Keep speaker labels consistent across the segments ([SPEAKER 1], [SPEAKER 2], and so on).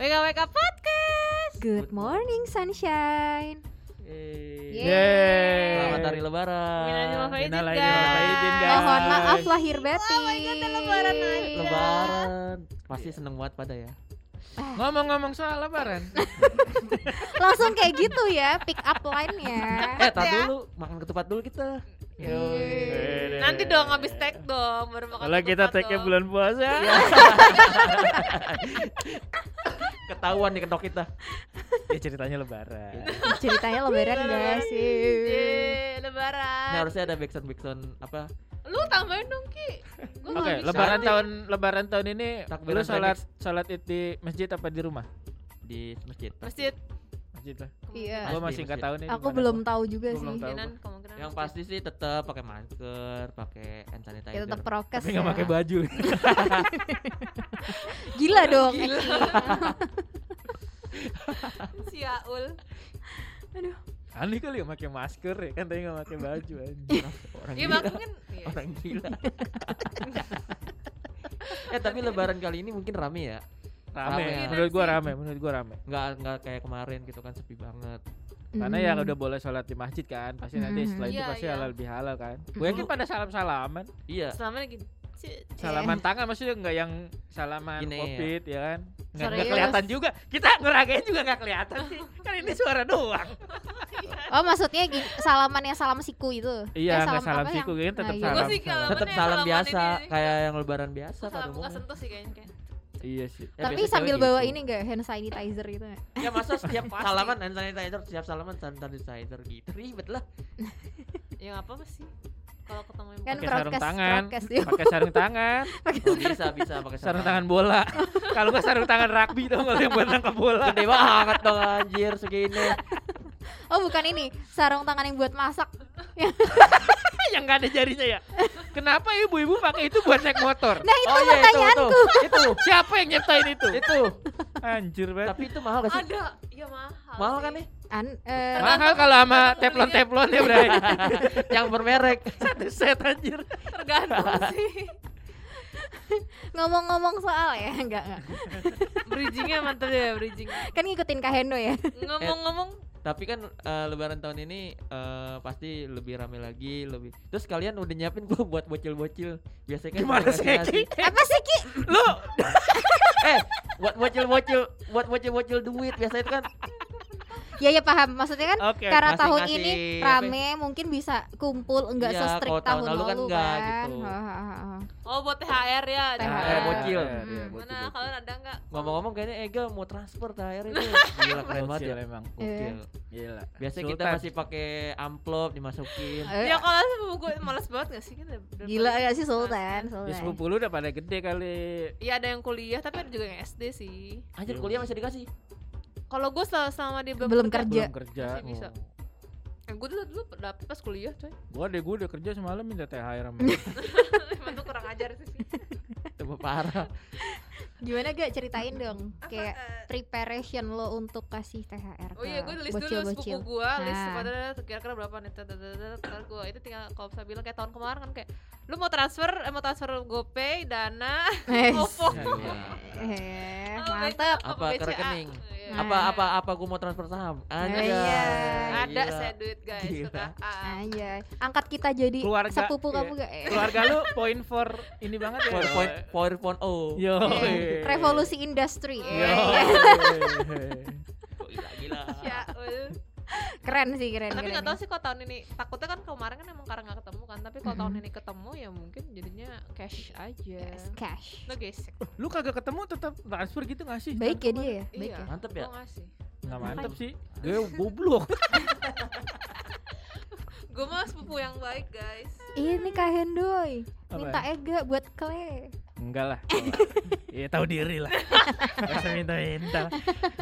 [SPEAKER 1] Wake up, wake up podcast.
[SPEAKER 2] Good morning sunshine.
[SPEAKER 3] Yeay.
[SPEAKER 1] Yeay.
[SPEAKER 3] Selamat hari lebaran.
[SPEAKER 1] Minal aidin wal faizin,
[SPEAKER 3] Minal aidin
[SPEAKER 1] guys.
[SPEAKER 3] wal faizin, guys.
[SPEAKER 2] Mohon maaf lahir batin.
[SPEAKER 1] Oh my God, ada lebaran lagi.
[SPEAKER 3] Lebaran. Pasti seneng banget pada ya.
[SPEAKER 4] Ngomong-ngomong soal lebaran,
[SPEAKER 2] Langsung kayak gitu ya pick up line-nya.
[SPEAKER 3] Eh, tar
[SPEAKER 1] ya.
[SPEAKER 3] dulu makan ketupat dulu kita.
[SPEAKER 4] iya,
[SPEAKER 2] Yeay.
[SPEAKER 1] Nanti dong habis tag Iya. dong baru makan.
[SPEAKER 4] kalau kita
[SPEAKER 1] ketupat
[SPEAKER 4] take
[SPEAKER 1] dong.
[SPEAKER 4] bulan puasa,
[SPEAKER 3] Ketahuan nih kedok kita.
[SPEAKER 4] ya ceritanya lebaran.
[SPEAKER 1] Iya.
[SPEAKER 2] Ceritanya lebaran guys.
[SPEAKER 1] Yeay,
[SPEAKER 3] Ini
[SPEAKER 1] iya, lebaran.
[SPEAKER 3] harusnya ada backsound backsound apa?
[SPEAKER 1] Lu tambahin dong Ki. Gua nggak
[SPEAKER 4] Oke,
[SPEAKER 1] bisa.
[SPEAKER 4] lebaran
[SPEAKER 3] Nanti.
[SPEAKER 4] tahun lebaran tahun ini
[SPEAKER 3] Takbiran
[SPEAKER 4] lu sholat sholat id di masjid apa di rumah?
[SPEAKER 3] di masjid.
[SPEAKER 1] Masjid.
[SPEAKER 4] Masjid lah.
[SPEAKER 2] Iya.
[SPEAKER 4] Gua
[SPEAKER 3] Pasti,
[SPEAKER 4] masih nggak
[SPEAKER 3] masjid.
[SPEAKER 4] tahu nih.
[SPEAKER 2] Aku belum tahu juga
[SPEAKER 4] Gua
[SPEAKER 2] sih.
[SPEAKER 4] belum tahu.
[SPEAKER 1] Kemungkinan kemungkinan.
[SPEAKER 3] Yang
[SPEAKER 1] masjid.
[SPEAKER 3] pasti sih tetap pakai masker, pakai hand sanitizer.
[SPEAKER 2] Kita tetap prokes.
[SPEAKER 4] Tapi nggak
[SPEAKER 2] ya.
[SPEAKER 4] pakai baju.
[SPEAKER 2] Gila dong.
[SPEAKER 1] Gila.
[SPEAKER 2] Eki.
[SPEAKER 1] Si Aul.
[SPEAKER 4] Aneh kali nggak pakai masker ya kan tadi nggak pakai baju. anjing.
[SPEAKER 3] Orang
[SPEAKER 1] Iya,
[SPEAKER 3] gila.
[SPEAKER 1] mungkin. iya.
[SPEAKER 3] Orang gila. eh tapi lebaran kali ini mungkin rame ya.
[SPEAKER 4] Rame.
[SPEAKER 1] Iya,
[SPEAKER 3] Rame.
[SPEAKER 4] Menurut gua rame. Menurut gua rame.
[SPEAKER 3] Nggak nggak kayak kemarin gitu kan sepi banget.
[SPEAKER 4] Karena ya
[SPEAKER 2] Hmm.
[SPEAKER 4] udah boleh sholat di masjid kan, pasti nanti
[SPEAKER 2] Mhm.
[SPEAKER 4] setelah itu
[SPEAKER 1] Iya,
[SPEAKER 4] pasti
[SPEAKER 1] iya.
[SPEAKER 4] halal bihalal kan.
[SPEAKER 3] Gua
[SPEAKER 4] Gue yakin pada salam salaman,
[SPEAKER 3] Iya.
[SPEAKER 1] Selama lagi. Ci-
[SPEAKER 4] salaman tangan maksudnya nggak yang salaman
[SPEAKER 3] Gini,
[SPEAKER 4] covid ya kan? Nggak, nggak
[SPEAKER 1] Serius.
[SPEAKER 4] kelihatan juga, kita ngeragain juga nggak kelihatan sih, kan ini suara doang.
[SPEAKER 2] Oh maksudnya gini, salaman yang salam siku itu. Eh,
[SPEAKER 4] Iya, nggak salam
[SPEAKER 2] apa
[SPEAKER 4] siku
[SPEAKER 2] yang-
[SPEAKER 4] kan
[SPEAKER 2] Nah,
[SPEAKER 4] tetap
[SPEAKER 2] iya.
[SPEAKER 4] salam.
[SPEAKER 1] Gua sih ya kalau-
[SPEAKER 4] salaman.
[SPEAKER 1] Mana
[SPEAKER 3] Tetap
[SPEAKER 1] yang
[SPEAKER 3] salam
[SPEAKER 1] salaman
[SPEAKER 3] biasa
[SPEAKER 1] ini?
[SPEAKER 3] kayak yang lebaran biasa pada
[SPEAKER 1] Salam muka
[SPEAKER 3] umumnya.
[SPEAKER 1] sentuh sih kayaknya.
[SPEAKER 4] Iya sih.
[SPEAKER 3] Ya,
[SPEAKER 2] Tapi
[SPEAKER 3] biasa
[SPEAKER 2] sambil
[SPEAKER 3] cewek
[SPEAKER 2] bawa
[SPEAKER 3] gitu.
[SPEAKER 2] ini enggak hand sanitizer gitu itu nggak?
[SPEAKER 3] Ya masa setiap
[SPEAKER 1] Pasti.
[SPEAKER 3] salaman hand sanitizer, setiap salaman hand sanitizer gitu. Ribet lah.
[SPEAKER 1] Ya nggak apa-apa sih. Kalau ketemu yang
[SPEAKER 2] Kan
[SPEAKER 4] Pakai
[SPEAKER 1] bukan-
[SPEAKER 4] sarung
[SPEAKER 2] prokes-
[SPEAKER 4] tangan,
[SPEAKER 2] prokes dia.
[SPEAKER 4] pakai sarung tangan,
[SPEAKER 3] Oh, bisa bisa pakai
[SPEAKER 4] sarung tangan bola. Kalau nggak sarung tangan rugby dong kalau yang buat nangkep bola.
[SPEAKER 3] Gede banget dong anjir segini.
[SPEAKER 2] Oh bukan ini, sarung tangan yang buat masak.
[SPEAKER 4] yang nggak ada jarinya ya. Kenapa ibu-ibu pakai itu buat naik motor?
[SPEAKER 2] Nah itu
[SPEAKER 3] Oh iya itu itu. Itu.
[SPEAKER 4] Siapa yang nyiptain itu?
[SPEAKER 3] Itu.
[SPEAKER 4] Anjir banget.
[SPEAKER 3] Tapi itu mahal gak sih?
[SPEAKER 1] Ada. Ya mahal.
[SPEAKER 3] Mahal
[SPEAKER 1] sih.
[SPEAKER 3] kan nih?
[SPEAKER 2] An, eh,
[SPEAKER 4] Mahal kalau sama
[SPEAKER 1] tergantung belinya.
[SPEAKER 4] teplon-teplon ya, Bray.
[SPEAKER 3] Iya. Yang bermerek.
[SPEAKER 4] Satu set anjir.
[SPEAKER 1] Tergantung sih.
[SPEAKER 2] ngomong-ngomong soal ya, enggak enggak.
[SPEAKER 1] Bridgingnya mantap ya bridging.
[SPEAKER 2] Kan ngikutin Kahendo ya.
[SPEAKER 1] Ngomong-ngomong,
[SPEAKER 3] Tapi kan eh, lebaran tahun ini eh, pasti lebih rame lagi, lebih. Terus kalian udah nyiapin gua buat bocil-bocil. Biasanya kan
[SPEAKER 4] Gimana
[SPEAKER 3] yang
[SPEAKER 4] sih,
[SPEAKER 3] ngasih-ngasih.
[SPEAKER 4] Eki?
[SPEAKER 2] Apa sih Ki?
[SPEAKER 4] Lu
[SPEAKER 3] Eh, buat bocil-bocil, buat bocil-bocil duit biasanya itu kan
[SPEAKER 2] Ya ya paham, maksudnya kan
[SPEAKER 4] Oke,
[SPEAKER 2] karena
[SPEAKER 3] masing-masing
[SPEAKER 2] tahun ini
[SPEAKER 3] apa- ya?
[SPEAKER 2] rame mungkin bisa kumpul enggak
[SPEAKER 3] Iya,
[SPEAKER 2] se-strict
[SPEAKER 3] kalau
[SPEAKER 2] tahun, lalu kan.
[SPEAKER 3] enggak gitu.
[SPEAKER 2] Ha, ha, ha, ha.
[SPEAKER 1] oh buat THR ya.
[SPEAKER 2] THR.
[SPEAKER 3] Eh, bocil.
[SPEAKER 2] iya,
[SPEAKER 1] Mana kalian ada nggak?
[SPEAKER 3] Ngomong-ngomong kayaknya Ega mau transfer terakhir ini. Gila keren banget ya.
[SPEAKER 4] emang.
[SPEAKER 3] Gokil.
[SPEAKER 4] Gila.
[SPEAKER 3] Biasanya kita masih pakai amplop dimasukin.
[SPEAKER 2] Eh,
[SPEAKER 1] Ya kalau sepupu gue males banget nggak sih kan? udah- udah
[SPEAKER 2] gila
[SPEAKER 1] males.
[SPEAKER 2] ya sih Sultan,
[SPEAKER 4] di
[SPEAKER 2] Sultan.
[SPEAKER 4] sepupu lu udah pada gede kali.
[SPEAKER 1] Iya ada yang kuliah tapi ada juga yang SD sih.
[SPEAKER 3] Anjir kuliah masih dikasih.
[SPEAKER 1] Kalau gue selama, selama dia belum,
[SPEAKER 2] Belum
[SPEAKER 1] kerja,
[SPEAKER 2] Kerja.
[SPEAKER 4] Belum kerja. Oh.
[SPEAKER 1] Masih bisa. eh, gue dulu dulu dapet pas kuliah coy.
[SPEAKER 4] Gua deh gua udah kerja semalam minta THR sama.
[SPEAKER 1] Emang tuh kurang ajar sih.
[SPEAKER 3] Coba parah.
[SPEAKER 2] Gimana gak ceritain dong kayak preparation lo untuk kasih THR.
[SPEAKER 1] Oh iya, gue
[SPEAKER 2] ke
[SPEAKER 1] list dulu sepupu
[SPEAKER 2] bocil-bocil.
[SPEAKER 1] gue, list
[SPEAKER 2] Nah.
[SPEAKER 1] pada kira-kira berapa nih, ntar gue itu tinggal kalau bisa bilang kayak tahun kemarin kan kayak lu mau transfer, eh, mau transfer GoPay, Dana,
[SPEAKER 2] Eh,
[SPEAKER 1] OVO,
[SPEAKER 3] Iya.
[SPEAKER 2] eh,
[SPEAKER 1] apa
[SPEAKER 2] mantap.
[SPEAKER 1] BCA,
[SPEAKER 3] Apa ke
[SPEAKER 1] BCA.
[SPEAKER 3] rekening?
[SPEAKER 1] Iya.
[SPEAKER 3] Apa apa apa gua mau transfer saham? Anjir.
[SPEAKER 2] Iya.
[SPEAKER 1] Ada
[SPEAKER 3] Gila.
[SPEAKER 1] saya duit guys,
[SPEAKER 3] Gila.
[SPEAKER 1] KKA.
[SPEAKER 2] Anjay, angkat kita jadi
[SPEAKER 4] Keluarga,
[SPEAKER 2] sepupu
[SPEAKER 4] iya.
[SPEAKER 2] kamu gak? Eh.
[SPEAKER 4] Keluarga lu poin for ini banget ya.
[SPEAKER 3] PowerPoint PowerPoint oh.
[SPEAKER 4] Yo. iya.
[SPEAKER 2] Eh, Revolusi Iya. industri.
[SPEAKER 4] Yo.
[SPEAKER 2] Eh,
[SPEAKER 3] Gila gila.
[SPEAKER 1] Iya. Syaul.
[SPEAKER 2] Keren sih, keren.
[SPEAKER 1] Ya, tapi
[SPEAKER 2] keren.
[SPEAKER 1] nggak tahu sih kalau tahun ini takutnya kan kemarin kan emang karena nggak ketemu kan tapi kalau tahun
[SPEAKER 2] Mm-mm.
[SPEAKER 1] ini ketemu ya mungkin jadinya cash aja
[SPEAKER 2] Yes, cash.
[SPEAKER 1] lo gesek
[SPEAKER 4] Lu kagak ketemu tetap transfer gitu gak sih?
[SPEAKER 2] Baik ya dia
[SPEAKER 1] Iya.
[SPEAKER 2] ya, baik ya.
[SPEAKER 3] Mantep ya.
[SPEAKER 1] Mau nggak sih
[SPEAKER 4] Enggak mantep sih. Gue goblok.
[SPEAKER 1] gue mah sepupu yang baik guys
[SPEAKER 2] Ini Iya Kak Hendoy,
[SPEAKER 4] Apa?
[SPEAKER 2] minta Ega buat kle.
[SPEAKER 1] Ya,
[SPEAKER 4] Enggak lah. Iya tahu diri lah. Gak usah minta-minta.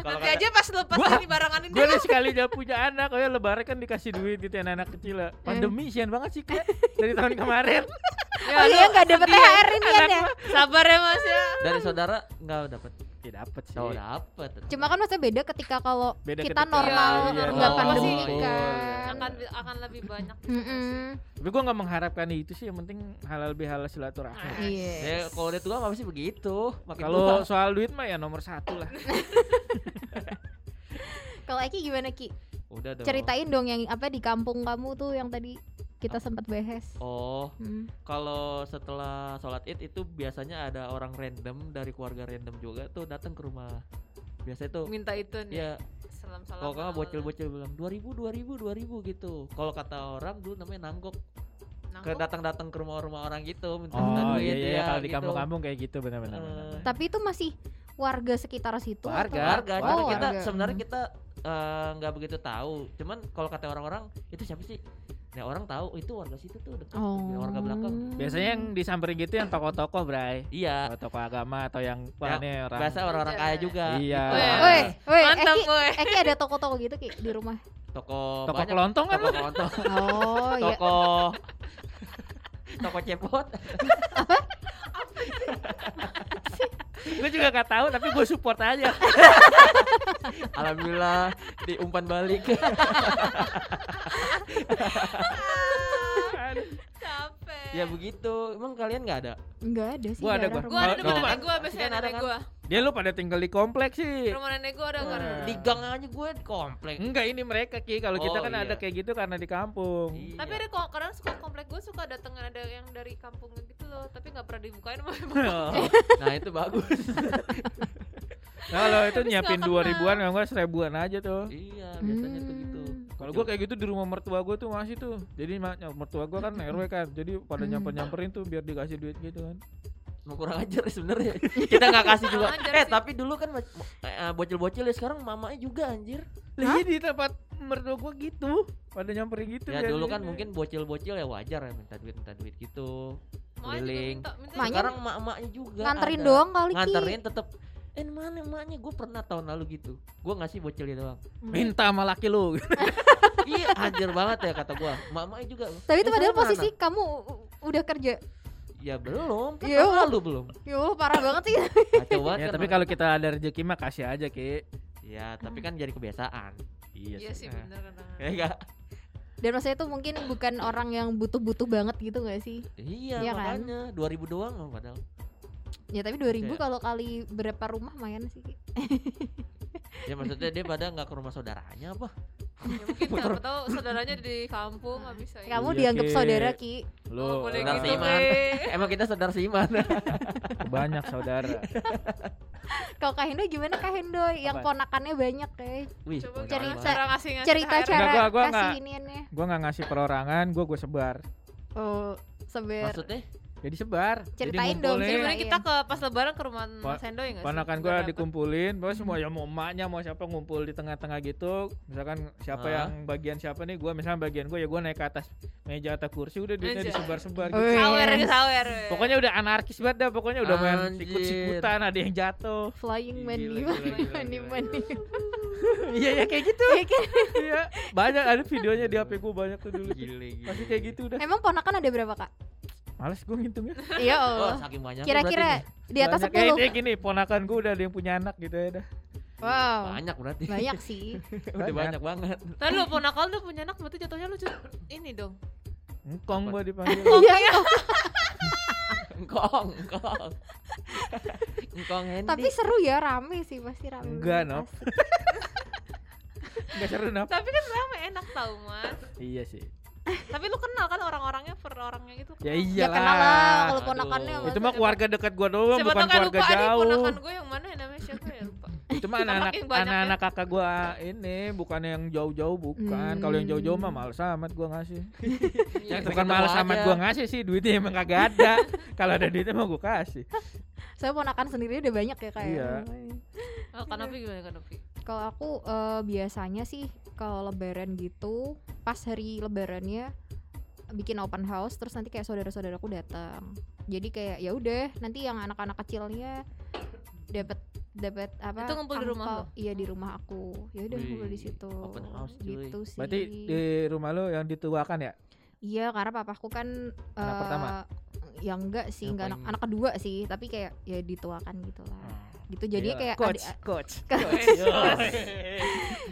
[SPEAKER 3] Kalau
[SPEAKER 1] nanti aja pas lepas
[SPEAKER 4] Gua-
[SPEAKER 1] ini barangan ini
[SPEAKER 4] Gue udah sekali udah punya anak, kayak lebaran kan dikasih duit gitu ya, anak kecil
[SPEAKER 3] Eh.
[SPEAKER 4] ya. Pandemi sian banget sih Kak. dari tahun kemarin.
[SPEAKER 1] ya,
[SPEAKER 2] oh iya
[SPEAKER 1] lu
[SPEAKER 2] nggak dapet
[SPEAKER 1] sedih ya.
[SPEAKER 2] THR ini ya.
[SPEAKER 1] sabar ya mas ya
[SPEAKER 3] dari saudara nggak dapat.
[SPEAKER 4] ya dapet sih
[SPEAKER 3] Tahu dapet.
[SPEAKER 2] Cuma kan masa beda ketika kalau
[SPEAKER 4] Beda
[SPEAKER 2] kita
[SPEAKER 4] ketika-
[SPEAKER 2] normal
[SPEAKER 1] Iya,
[SPEAKER 2] nggak
[SPEAKER 1] normal.
[SPEAKER 2] pandemi
[SPEAKER 1] Pasti.
[SPEAKER 2] kan.
[SPEAKER 1] akan akan lebih banyak di sana
[SPEAKER 2] Mm-mm.
[SPEAKER 1] sih.
[SPEAKER 4] tapi gue nggak mengharapkan itu sih yang penting halal bihalal silaturahmi
[SPEAKER 1] Iya.
[SPEAKER 3] Ya,
[SPEAKER 2] Yes.
[SPEAKER 3] kalau dia tua mah pasti begitu. Makin tua.
[SPEAKER 4] kalau soal duit mah ya nomor satu lah
[SPEAKER 2] Kalau Eki gimana Ki?
[SPEAKER 3] udah dong.
[SPEAKER 2] Ceritain dong yang apa di kampung kamu tuh yang tadi kita sempat bahas.
[SPEAKER 3] Oh,
[SPEAKER 2] Hmm.
[SPEAKER 3] kalau setelah sholat id itu biasanya ada orang random dari keluarga random juga tuh datang ke rumah. Biasa itu
[SPEAKER 1] minta itu nih
[SPEAKER 3] ya
[SPEAKER 1] salam salam
[SPEAKER 3] kalau nggak bocil-bocil bilang 2000 2000 2000 gitu. Kalau kata orang dulu namanya nanggok.
[SPEAKER 1] Nah,
[SPEAKER 3] Ke datang-datang ke rumah-rumah orang gitu minta
[SPEAKER 4] oh iya iya
[SPEAKER 3] ya,
[SPEAKER 4] kalau di
[SPEAKER 3] gitu.
[SPEAKER 4] kampung-kampung kayak gitu benar-benar
[SPEAKER 3] Eh,
[SPEAKER 4] benar-benar.
[SPEAKER 2] Tapi itu masih warga sekitar situ.
[SPEAKER 4] Warga,
[SPEAKER 2] atau-
[SPEAKER 3] warga,
[SPEAKER 4] warga.
[SPEAKER 3] cuma
[SPEAKER 2] Oh,
[SPEAKER 3] kita
[SPEAKER 2] warga.
[SPEAKER 3] sebenarnya kita eh, nggak begitu tahu. Cuman kalau kata orang-orang itu siapa sih? Nah orang tahu itu warga situ tuh dekat
[SPEAKER 2] Oh. Hmm.
[SPEAKER 3] Ya, warga belakang.
[SPEAKER 4] biasanya yang disamperin gitu yang tokoh-tokoh bray
[SPEAKER 3] Iya,
[SPEAKER 4] tokoh agama atau yang wah
[SPEAKER 3] Ya,
[SPEAKER 4] ini orang
[SPEAKER 3] bahasa orang-orang kaya juga.
[SPEAKER 4] Iya.
[SPEAKER 3] Gitu.
[SPEAKER 4] Ah.
[SPEAKER 2] Woi, woi,
[SPEAKER 1] mantap
[SPEAKER 2] Eki,
[SPEAKER 1] gue
[SPEAKER 2] Eki ada toko-toko gitu Ki di rumah.
[SPEAKER 3] Toko
[SPEAKER 4] toko
[SPEAKER 3] banyak,
[SPEAKER 4] kelontong kan
[SPEAKER 3] toko
[SPEAKER 4] lu?
[SPEAKER 3] kelontong,
[SPEAKER 2] Oh, iya.
[SPEAKER 3] toko toko cepot.
[SPEAKER 4] gue juga gak tahu tapi gue support aja
[SPEAKER 3] Alhamdulillah diumpan balik.
[SPEAKER 1] capek
[SPEAKER 3] ya begitu. Emang kalian nggak ada?
[SPEAKER 2] Enggak ada sih.
[SPEAKER 4] Gua ada,
[SPEAKER 2] daerah
[SPEAKER 4] gua.
[SPEAKER 1] gue
[SPEAKER 2] rumah.
[SPEAKER 1] ada
[SPEAKER 4] No,
[SPEAKER 1] rumah
[SPEAKER 4] no.
[SPEAKER 1] nenek gue biasanya
[SPEAKER 3] Kan ada
[SPEAKER 1] nenek
[SPEAKER 3] kan?
[SPEAKER 1] gue
[SPEAKER 4] dia lu pada tinggal di kompleks sih
[SPEAKER 1] rumah nenek gue ada gue ada
[SPEAKER 4] Wah.
[SPEAKER 3] Di gang aja gue di komplek.
[SPEAKER 1] Hmm.
[SPEAKER 4] enggak ini mereka ki kalau kita
[SPEAKER 3] Oh,
[SPEAKER 4] kan ada
[SPEAKER 3] iya.
[SPEAKER 4] kayak gitu karena di kampung
[SPEAKER 3] Iya.
[SPEAKER 1] tapi ada kok kadang suka komplek gue suka dateng ada yang dari kampung gitu loh tapi nggak pernah dibukain sama
[SPEAKER 3] Nah itu bagus.
[SPEAKER 4] Nah, lo itu
[SPEAKER 1] Habis
[SPEAKER 4] nyiapin
[SPEAKER 1] nggak
[SPEAKER 4] dua
[SPEAKER 1] kenal.
[SPEAKER 4] ribuan kalau nggak seribuan aja tuh
[SPEAKER 3] iya biasanya tuh gitu.
[SPEAKER 2] Hmm.
[SPEAKER 4] kalau gue kayak gitu di rumah mertua gue tuh masih tuh jadi ma- mertua gue kan rw kan jadi pada
[SPEAKER 2] Hmm.
[SPEAKER 4] nyamper nyamperin tuh biar dikasih duit gitu kan
[SPEAKER 3] Emang kurang ajar ya sebenarnya kita nggak kasih juga
[SPEAKER 1] Iya. Kurang ajar
[SPEAKER 3] eh
[SPEAKER 1] sih.
[SPEAKER 3] tapi dulu kan ma- eh, bocil-bocil ya sekarang mamanya juga anjir
[SPEAKER 4] Lah, iya di tempat mertua gue gitu pada nyamperin gitu
[SPEAKER 3] ya
[SPEAKER 4] biar
[SPEAKER 3] dulu kan
[SPEAKER 4] duit.
[SPEAKER 3] mungkin bocil-bocil ya wajar ya minta duit minta duit gitu
[SPEAKER 1] mau juga
[SPEAKER 3] Keliling.
[SPEAKER 1] minta minta
[SPEAKER 2] Maknya-
[SPEAKER 3] sekarang mak-maknya juga
[SPEAKER 2] Nganterin
[SPEAKER 3] ada.
[SPEAKER 2] doang kali Ki.
[SPEAKER 3] nganterin tetep eh mana emaknya gue pernah tahun lalu gitu gue ngasih bocilnya doang
[SPEAKER 2] Hmm.
[SPEAKER 4] minta sama laki lu
[SPEAKER 3] iya anjir banget ya kata gue mak-maknya juga
[SPEAKER 2] Tapi itu
[SPEAKER 3] "Eh,
[SPEAKER 2] padahal
[SPEAKER 3] sana mana?"
[SPEAKER 2] posisi kamu udah kerja.
[SPEAKER 3] ya belum kan
[SPEAKER 2] Iya,
[SPEAKER 3] tahun
[SPEAKER 2] Bang.
[SPEAKER 3] lalu belum
[SPEAKER 2] Ya Allah, parah banget sih.
[SPEAKER 3] kacau banget
[SPEAKER 4] ya
[SPEAKER 3] kan,
[SPEAKER 4] tapi
[SPEAKER 3] Bang.
[SPEAKER 4] kalau kita ada rezeki mah kasih aja ki
[SPEAKER 3] ya tapi kan jadi kebiasaan
[SPEAKER 1] iya sih
[SPEAKER 3] Eh.
[SPEAKER 1] bener kadang
[SPEAKER 3] Ya enggak?
[SPEAKER 2] Dan maksudnya itu mungkin bukan orang yang butuh-butuh banget gitu gak sih?
[SPEAKER 3] iya
[SPEAKER 2] Iya kan?
[SPEAKER 3] makanya 2000 doang loh padahal
[SPEAKER 2] Ya tapi 2000
[SPEAKER 3] Iya.
[SPEAKER 2] kalau kali berapa rumah lumayan sih. Ki.
[SPEAKER 3] ya maksudnya dia pada nggak ke rumah saudaranya apa
[SPEAKER 1] ya mungkin siapa tahu saudaranya di kampung nggak bisa ya.
[SPEAKER 2] Kamu
[SPEAKER 4] Iya,
[SPEAKER 2] dianggap
[SPEAKER 4] Ki.
[SPEAKER 2] saudara Ki.
[SPEAKER 4] lu
[SPEAKER 1] Oh, boleh
[SPEAKER 3] orang
[SPEAKER 1] gitu,
[SPEAKER 3] seiman.
[SPEAKER 1] Be.
[SPEAKER 3] Eh, emang kita saudara seiman
[SPEAKER 4] banyak saudara
[SPEAKER 2] Kalau Kak Hendo gimana Kak Hendo yang
[SPEAKER 4] Apa?
[SPEAKER 2] ponakannya banyak ya?
[SPEAKER 3] Wih,
[SPEAKER 1] Coba cara,
[SPEAKER 3] mohon
[SPEAKER 2] cerita.
[SPEAKER 3] maaf.
[SPEAKER 1] cara ngasih ngasih
[SPEAKER 2] Cerita
[SPEAKER 1] ke
[SPEAKER 2] cara
[SPEAKER 4] Enggak, gua- gua
[SPEAKER 2] kasih
[SPEAKER 4] enggak.
[SPEAKER 2] iniannya.
[SPEAKER 4] gue nggak ngasih perorangan gue gue sebar
[SPEAKER 2] Oh, seber.
[SPEAKER 3] maksudnya
[SPEAKER 4] jadi sebar
[SPEAKER 2] Ceritain
[SPEAKER 4] jadi
[SPEAKER 2] dong,
[SPEAKER 1] RT.
[SPEAKER 4] ngumpulin.
[SPEAKER 1] Sebenarnya
[SPEAKER 2] Iya.
[SPEAKER 1] kita ke pas lebaran ke rumah
[SPEAKER 4] Pa-
[SPEAKER 1] Mas Hendo ya nggak sih?
[SPEAKER 4] Ponakan
[SPEAKER 1] Biar
[SPEAKER 4] gue
[SPEAKER 1] dapet.
[SPEAKER 4] dikumpulin, pokoknya semua ya mau emaknya mau siapa ngumpul di tengah-tengah gitu. Misalkan siapa
[SPEAKER 3] Ah.
[SPEAKER 4] yang bagian siapa nih, gue misalnya bagian gue ya gue naik ke atas meja atau kursi udah
[SPEAKER 1] Anjay.
[SPEAKER 4] duitnya disebar-sebar
[SPEAKER 2] Oh,
[SPEAKER 4] gitu.
[SPEAKER 2] iya.
[SPEAKER 1] sawer ini sawer we.
[SPEAKER 4] Pokoknya udah anarkis banget dah, pokoknya udah main
[SPEAKER 3] Anjir.
[SPEAKER 4] sikut-sikutan, ada yang jatuh.
[SPEAKER 2] Flying man
[SPEAKER 4] Gila,
[SPEAKER 2] gimana
[SPEAKER 4] gila, gila,
[SPEAKER 2] gimana
[SPEAKER 4] gila.
[SPEAKER 2] gimana.
[SPEAKER 4] Iya ya kayak gitu. Iya, banyak ada videonya di HP gue banyak tuh dulu.
[SPEAKER 3] gile gile
[SPEAKER 4] Pasti kayak gitu udah.
[SPEAKER 2] Emang ponakan ada berapa, Kak?
[SPEAKER 4] Males gue ngitungnya.
[SPEAKER 2] Iya
[SPEAKER 3] oh
[SPEAKER 2] Allah.
[SPEAKER 3] saking banyak
[SPEAKER 2] Kira-kira di atas
[SPEAKER 4] Banyak.
[SPEAKER 2] 10.
[SPEAKER 4] Eh, ini gini, ponakan gue udah ada yang punya anak gitu ya dah.
[SPEAKER 2] Wow.
[SPEAKER 3] banyak berarti
[SPEAKER 2] oh. Banyak sih.
[SPEAKER 3] udah banyak banget
[SPEAKER 1] Lalu ponakan lu punya anak berarti jatuhnya lu cu- ini dong.
[SPEAKER 4] Engkong
[SPEAKER 3] Apa?
[SPEAKER 4] gue dipanggil.
[SPEAKER 2] Iya.
[SPEAKER 3] engkong engkong engkong Hendy
[SPEAKER 2] Tapi seru ya, rame sih pasti rame.
[SPEAKER 4] Enggak,
[SPEAKER 2] banget,
[SPEAKER 4] Nop.
[SPEAKER 2] asik.
[SPEAKER 4] Enggak seru nap.
[SPEAKER 1] Tapi kan ramai enak tau mas.
[SPEAKER 4] Iya sih.
[SPEAKER 1] Tapi lu kenal kan orang-orangnya per orangnya gitu.
[SPEAKER 4] Ya
[SPEAKER 1] kenal.
[SPEAKER 2] Ya
[SPEAKER 4] iyalah.
[SPEAKER 2] kenal lah kalau
[SPEAKER 3] Aduh.
[SPEAKER 2] ponakannya
[SPEAKER 4] Itu
[SPEAKER 2] masa-
[SPEAKER 4] mah keluarga dekat gua doang,
[SPEAKER 1] Siapa
[SPEAKER 4] bukan
[SPEAKER 1] tau kan
[SPEAKER 4] keluarga
[SPEAKER 1] lupa ada
[SPEAKER 4] jauh.
[SPEAKER 1] ponakan gue yang mana ya namanya siapa ya lupa.
[SPEAKER 4] Itu mah anak-anak
[SPEAKER 1] Makin banyak ya.
[SPEAKER 4] anak-anak kakak gua ini bukan yang jauh-jauh bukan. Kalau yang jauh-jauh mah males amat gua ngasih.
[SPEAKER 1] Iya.
[SPEAKER 3] Yang
[SPEAKER 4] bukan
[SPEAKER 3] ketemu
[SPEAKER 4] males
[SPEAKER 3] aja.
[SPEAKER 4] amat gua ngasih sih, duitnya emang kagak ada. Kalau ada duitnya mah gua kasih.
[SPEAKER 2] Saya ponakan sendiri udah banyak ya kayak.
[SPEAKER 4] Iya.
[SPEAKER 1] Oh, Kanopi gimana Kanopi?
[SPEAKER 2] Kalau aku eh, biasanya sih kalau lebaran gitu, pas hari lebarannya bikin open house terus nanti kayak saudara-saudaraku datang. Jadi kayak ya udah nanti yang anak-anak kecilnya dapat dapat apa?
[SPEAKER 1] Itu ngumpul di rumah
[SPEAKER 2] angpau.
[SPEAKER 1] lo?
[SPEAKER 2] Iya di rumah aku. Ya udah ngumpul di
[SPEAKER 3] Wih,
[SPEAKER 2] situ.
[SPEAKER 3] open house, cuy.
[SPEAKER 2] Gitu sih.
[SPEAKER 4] Berarti di rumah lo yang dituakan ya?
[SPEAKER 2] Iya karena papaku kan
[SPEAKER 4] Anak
[SPEAKER 2] eh,
[SPEAKER 4] pertama?
[SPEAKER 2] Ya enggak sih,
[SPEAKER 3] Yang
[SPEAKER 2] enggak anak,
[SPEAKER 3] paling-
[SPEAKER 2] anak kedua sih, tapi kayak ya dituakan gitu lah. gitu jadinya
[SPEAKER 3] Iya.
[SPEAKER 2] kayak
[SPEAKER 4] Ah, coach,
[SPEAKER 2] adik-
[SPEAKER 4] coach.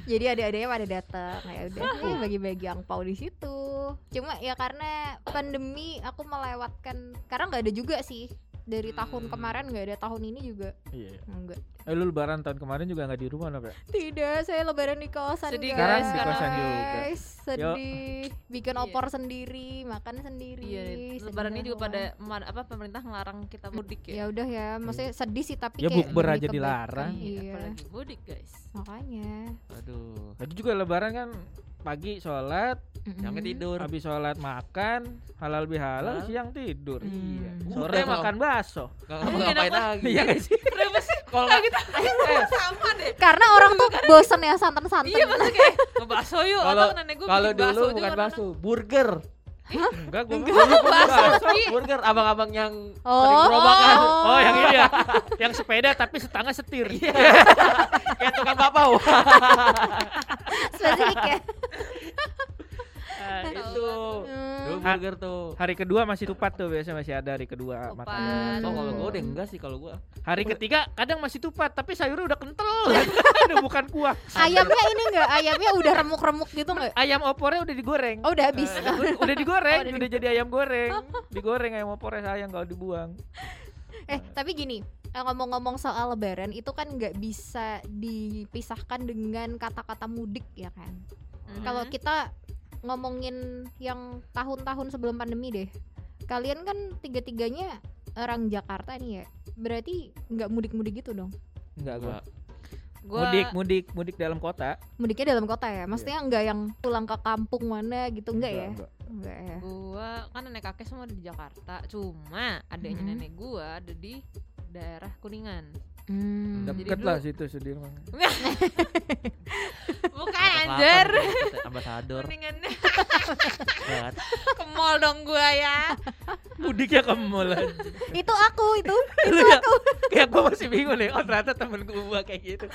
[SPEAKER 2] jadi adik-adiknya pada datang ya udah eh, bagi-bagi angpau di situ cuma ya karena pandemi aku melewatkan karena nggak ada juga sih dari tahun
[SPEAKER 3] Hmm.
[SPEAKER 2] kemarin nggak ada tahun ini juga
[SPEAKER 4] Iya.
[SPEAKER 2] enggak
[SPEAKER 4] Eh lu lebaran tahun kemarin juga nggak di rumah Nov ya?
[SPEAKER 2] tidak saya lebaran di kosan
[SPEAKER 1] Sedih, Sekarang
[SPEAKER 2] guys
[SPEAKER 1] di
[SPEAKER 4] kosan juga.
[SPEAKER 2] Guys, sedih bikin
[SPEAKER 1] Iya.
[SPEAKER 2] opor sendiri makan sendiri
[SPEAKER 1] Iya,
[SPEAKER 2] sedih
[SPEAKER 1] lebaran ini juga
[SPEAKER 2] banget.
[SPEAKER 1] pada eman- apa pemerintah ngelarang kita mudik
[SPEAKER 2] ya
[SPEAKER 1] ya.
[SPEAKER 2] udah ya maksudnya sedih sih tapi
[SPEAKER 4] Ya,
[SPEAKER 2] kayak
[SPEAKER 4] bukber
[SPEAKER 2] demi
[SPEAKER 4] aja
[SPEAKER 2] kebaikan.
[SPEAKER 4] dilarang.
[SPEAKER 2] iya
[SPEAKER 1] Apalagi mudik, guys.
[SPEAKER 2] makanya
[SPEAKER 3] Aduh.
[SPEAKER 4] Lagi juga lebaran kan pagi sholat,
[SPEAKER 3] Jangan
[SPEAKER 2] Mm-mm.
[SPEAKER 3] tidur.
[SPEAKER 4] habis sholat makan, halal bihalal,
[SPEAKER 3] Hah?
[SPEAKER 4] siang tidur.
[SPEAKER 1] Hmm.
[SPEAKER 2] Iya.
[SPEAKER 4] Sore
[SPEAKER 3] Udah, Nov.
[SPEAKER 4] makan bakso.
[SPEAKER 3] Nggak kamu
[SPEAKER 1] Iya,
[SPEAKER 3] ngapain
[SPEAKER 1] kenapa?
[SPEAKER 3] lagi?
[SPEAKER 4] Iya guys.
[SPEAKER 1] Kenapa sih?
[SPEAKER 3] Kalau
[SPEAKER 1] Nggak
[SPEAKER 3] nggak-
[SPEAKER 1] gitu. Sama deh.
[SPEAKER 2] karena orang tuh bosen ya santan-santan
[SPEAKER 1] Iya, maksudnya kayak ke bakso yuk atau
[SPEAKER 3] Kalau-
[SPEAKER 1] nenek gue
[SPEAKER 3] kalau
[SPEAKER 1] bikin bakso
[SPEAKER 3] dulu
[SPEAKER 1] juga
[SPEAKER 3] bukan
[SPEAKER 1] anak-anak.
[SPEAKER 3] bakso, burger.
[SPEAKER 4] Enggak gua
[SPEAKER 3] Bakso,
[SPEAKER 1] Ki.
[SPEAKER 3] burger abang-abang yang
[SPEAKER 2] Oh.
[SPEAKER 3] sering gerobakan.
[SPEAKER 4] Oh, yang ini ya. Yang sepeda tapi setangah setir.
[SPEAKER 3] Kayak tukang papau.
[SPEAKER 2] spesifik ya
[SPEAKER 4] Ah,
[SPEAKER 3] itu. Dulu
[SPEAKER 2] Hmm.
[SPEAKER 3] burger tuh.
[SPEAKER 4] Hari kedua masih tupat tuh biasanya masih ada hari kedua
[SPEAKER 1] Tupat.
[SPEAKER 4] makan.
[SPEAKER 3] Oh, kalau
[SPEAKER 2] Hmm.
[SPEAKER 3] gue udah enggak sih kalau gue.
[SPEAKER 4] Hari ketiga kadang masih tupat tapi sayurnya udah kental. udah bukan kuah.
[SPEAKER 2] ayamnya ini enggak ayamnya udah remuk-remuk gitu enggak
[SPEAKER 4] Ayam opornya udah digoreng.
[SPEAKER 2] oh udah habis
[SPEAKER 4] udah digoreng,
[SPEAKER 2] Oh, udah
[SPEAKER 4] udah, jadi ayam goreng. Digoreng ayam opornya sayang kalau dibuang.
[SPEAKER 2] eh tapi gini eh, ngomong-ngomong soal lebaran itu kan nggak bisa dipisahkan dengan kata-kata mudik ya kan
[SPEAKER 1] Mhm.
[SPEAKER 2] kalau kita ngomongin yang tahun-tahun sebelum pandemi deh kalian kan tiga-tiganya eh, orang Jakarta nih ya berarti nggak mudik-mudik gitu dong
[SPEAKER 4] Enggak gua.
[SPEAKER 1] Gua-
[SPEAKER 4] Mudik, mudik, mudik dalam kota.
[SPEAKER 2] mudiknya dalam kota ya
[SPEAKER 3] Iya.
[SPEAKER 2] maksudnya nggak yang pulang ke kampung mana gitu nggak ya nggak ya
[SPEAKER 1] gua kan nenek kakek semua ada di Jakarta cuma adiknya
[SPEAKER 2] Mhm.
[SPEAKER 1] nenek gua ada di daerah kuningan
[SPEAKER 2] Hmm.
[SPEAKER 1] Jadi
[SPEAKER 4] Deket
[SPEAKER 1] dulu-
[SPEAKER 4] lah situ Sudirman.
[SPEAKER 1] bukan anjir
[SPEAKER 3] gitu,
[SPEAKER 2] gitu.
[SPEAKER 3] Ambasador.
[SPEAKER 1] kuningan
[SPEAKER 3] Banget.
[SPEAKER 1] ke mall dong gua ya
[SPEAKER 4] Mudiknya ke mall.
[SPEAKER 2] Hmm. itu aku itu
[SPEAKER 3] ya,
[SPEAKER 4] Kayak gua masih bingung deh. Oh, ternyata temen gua kayak gitu.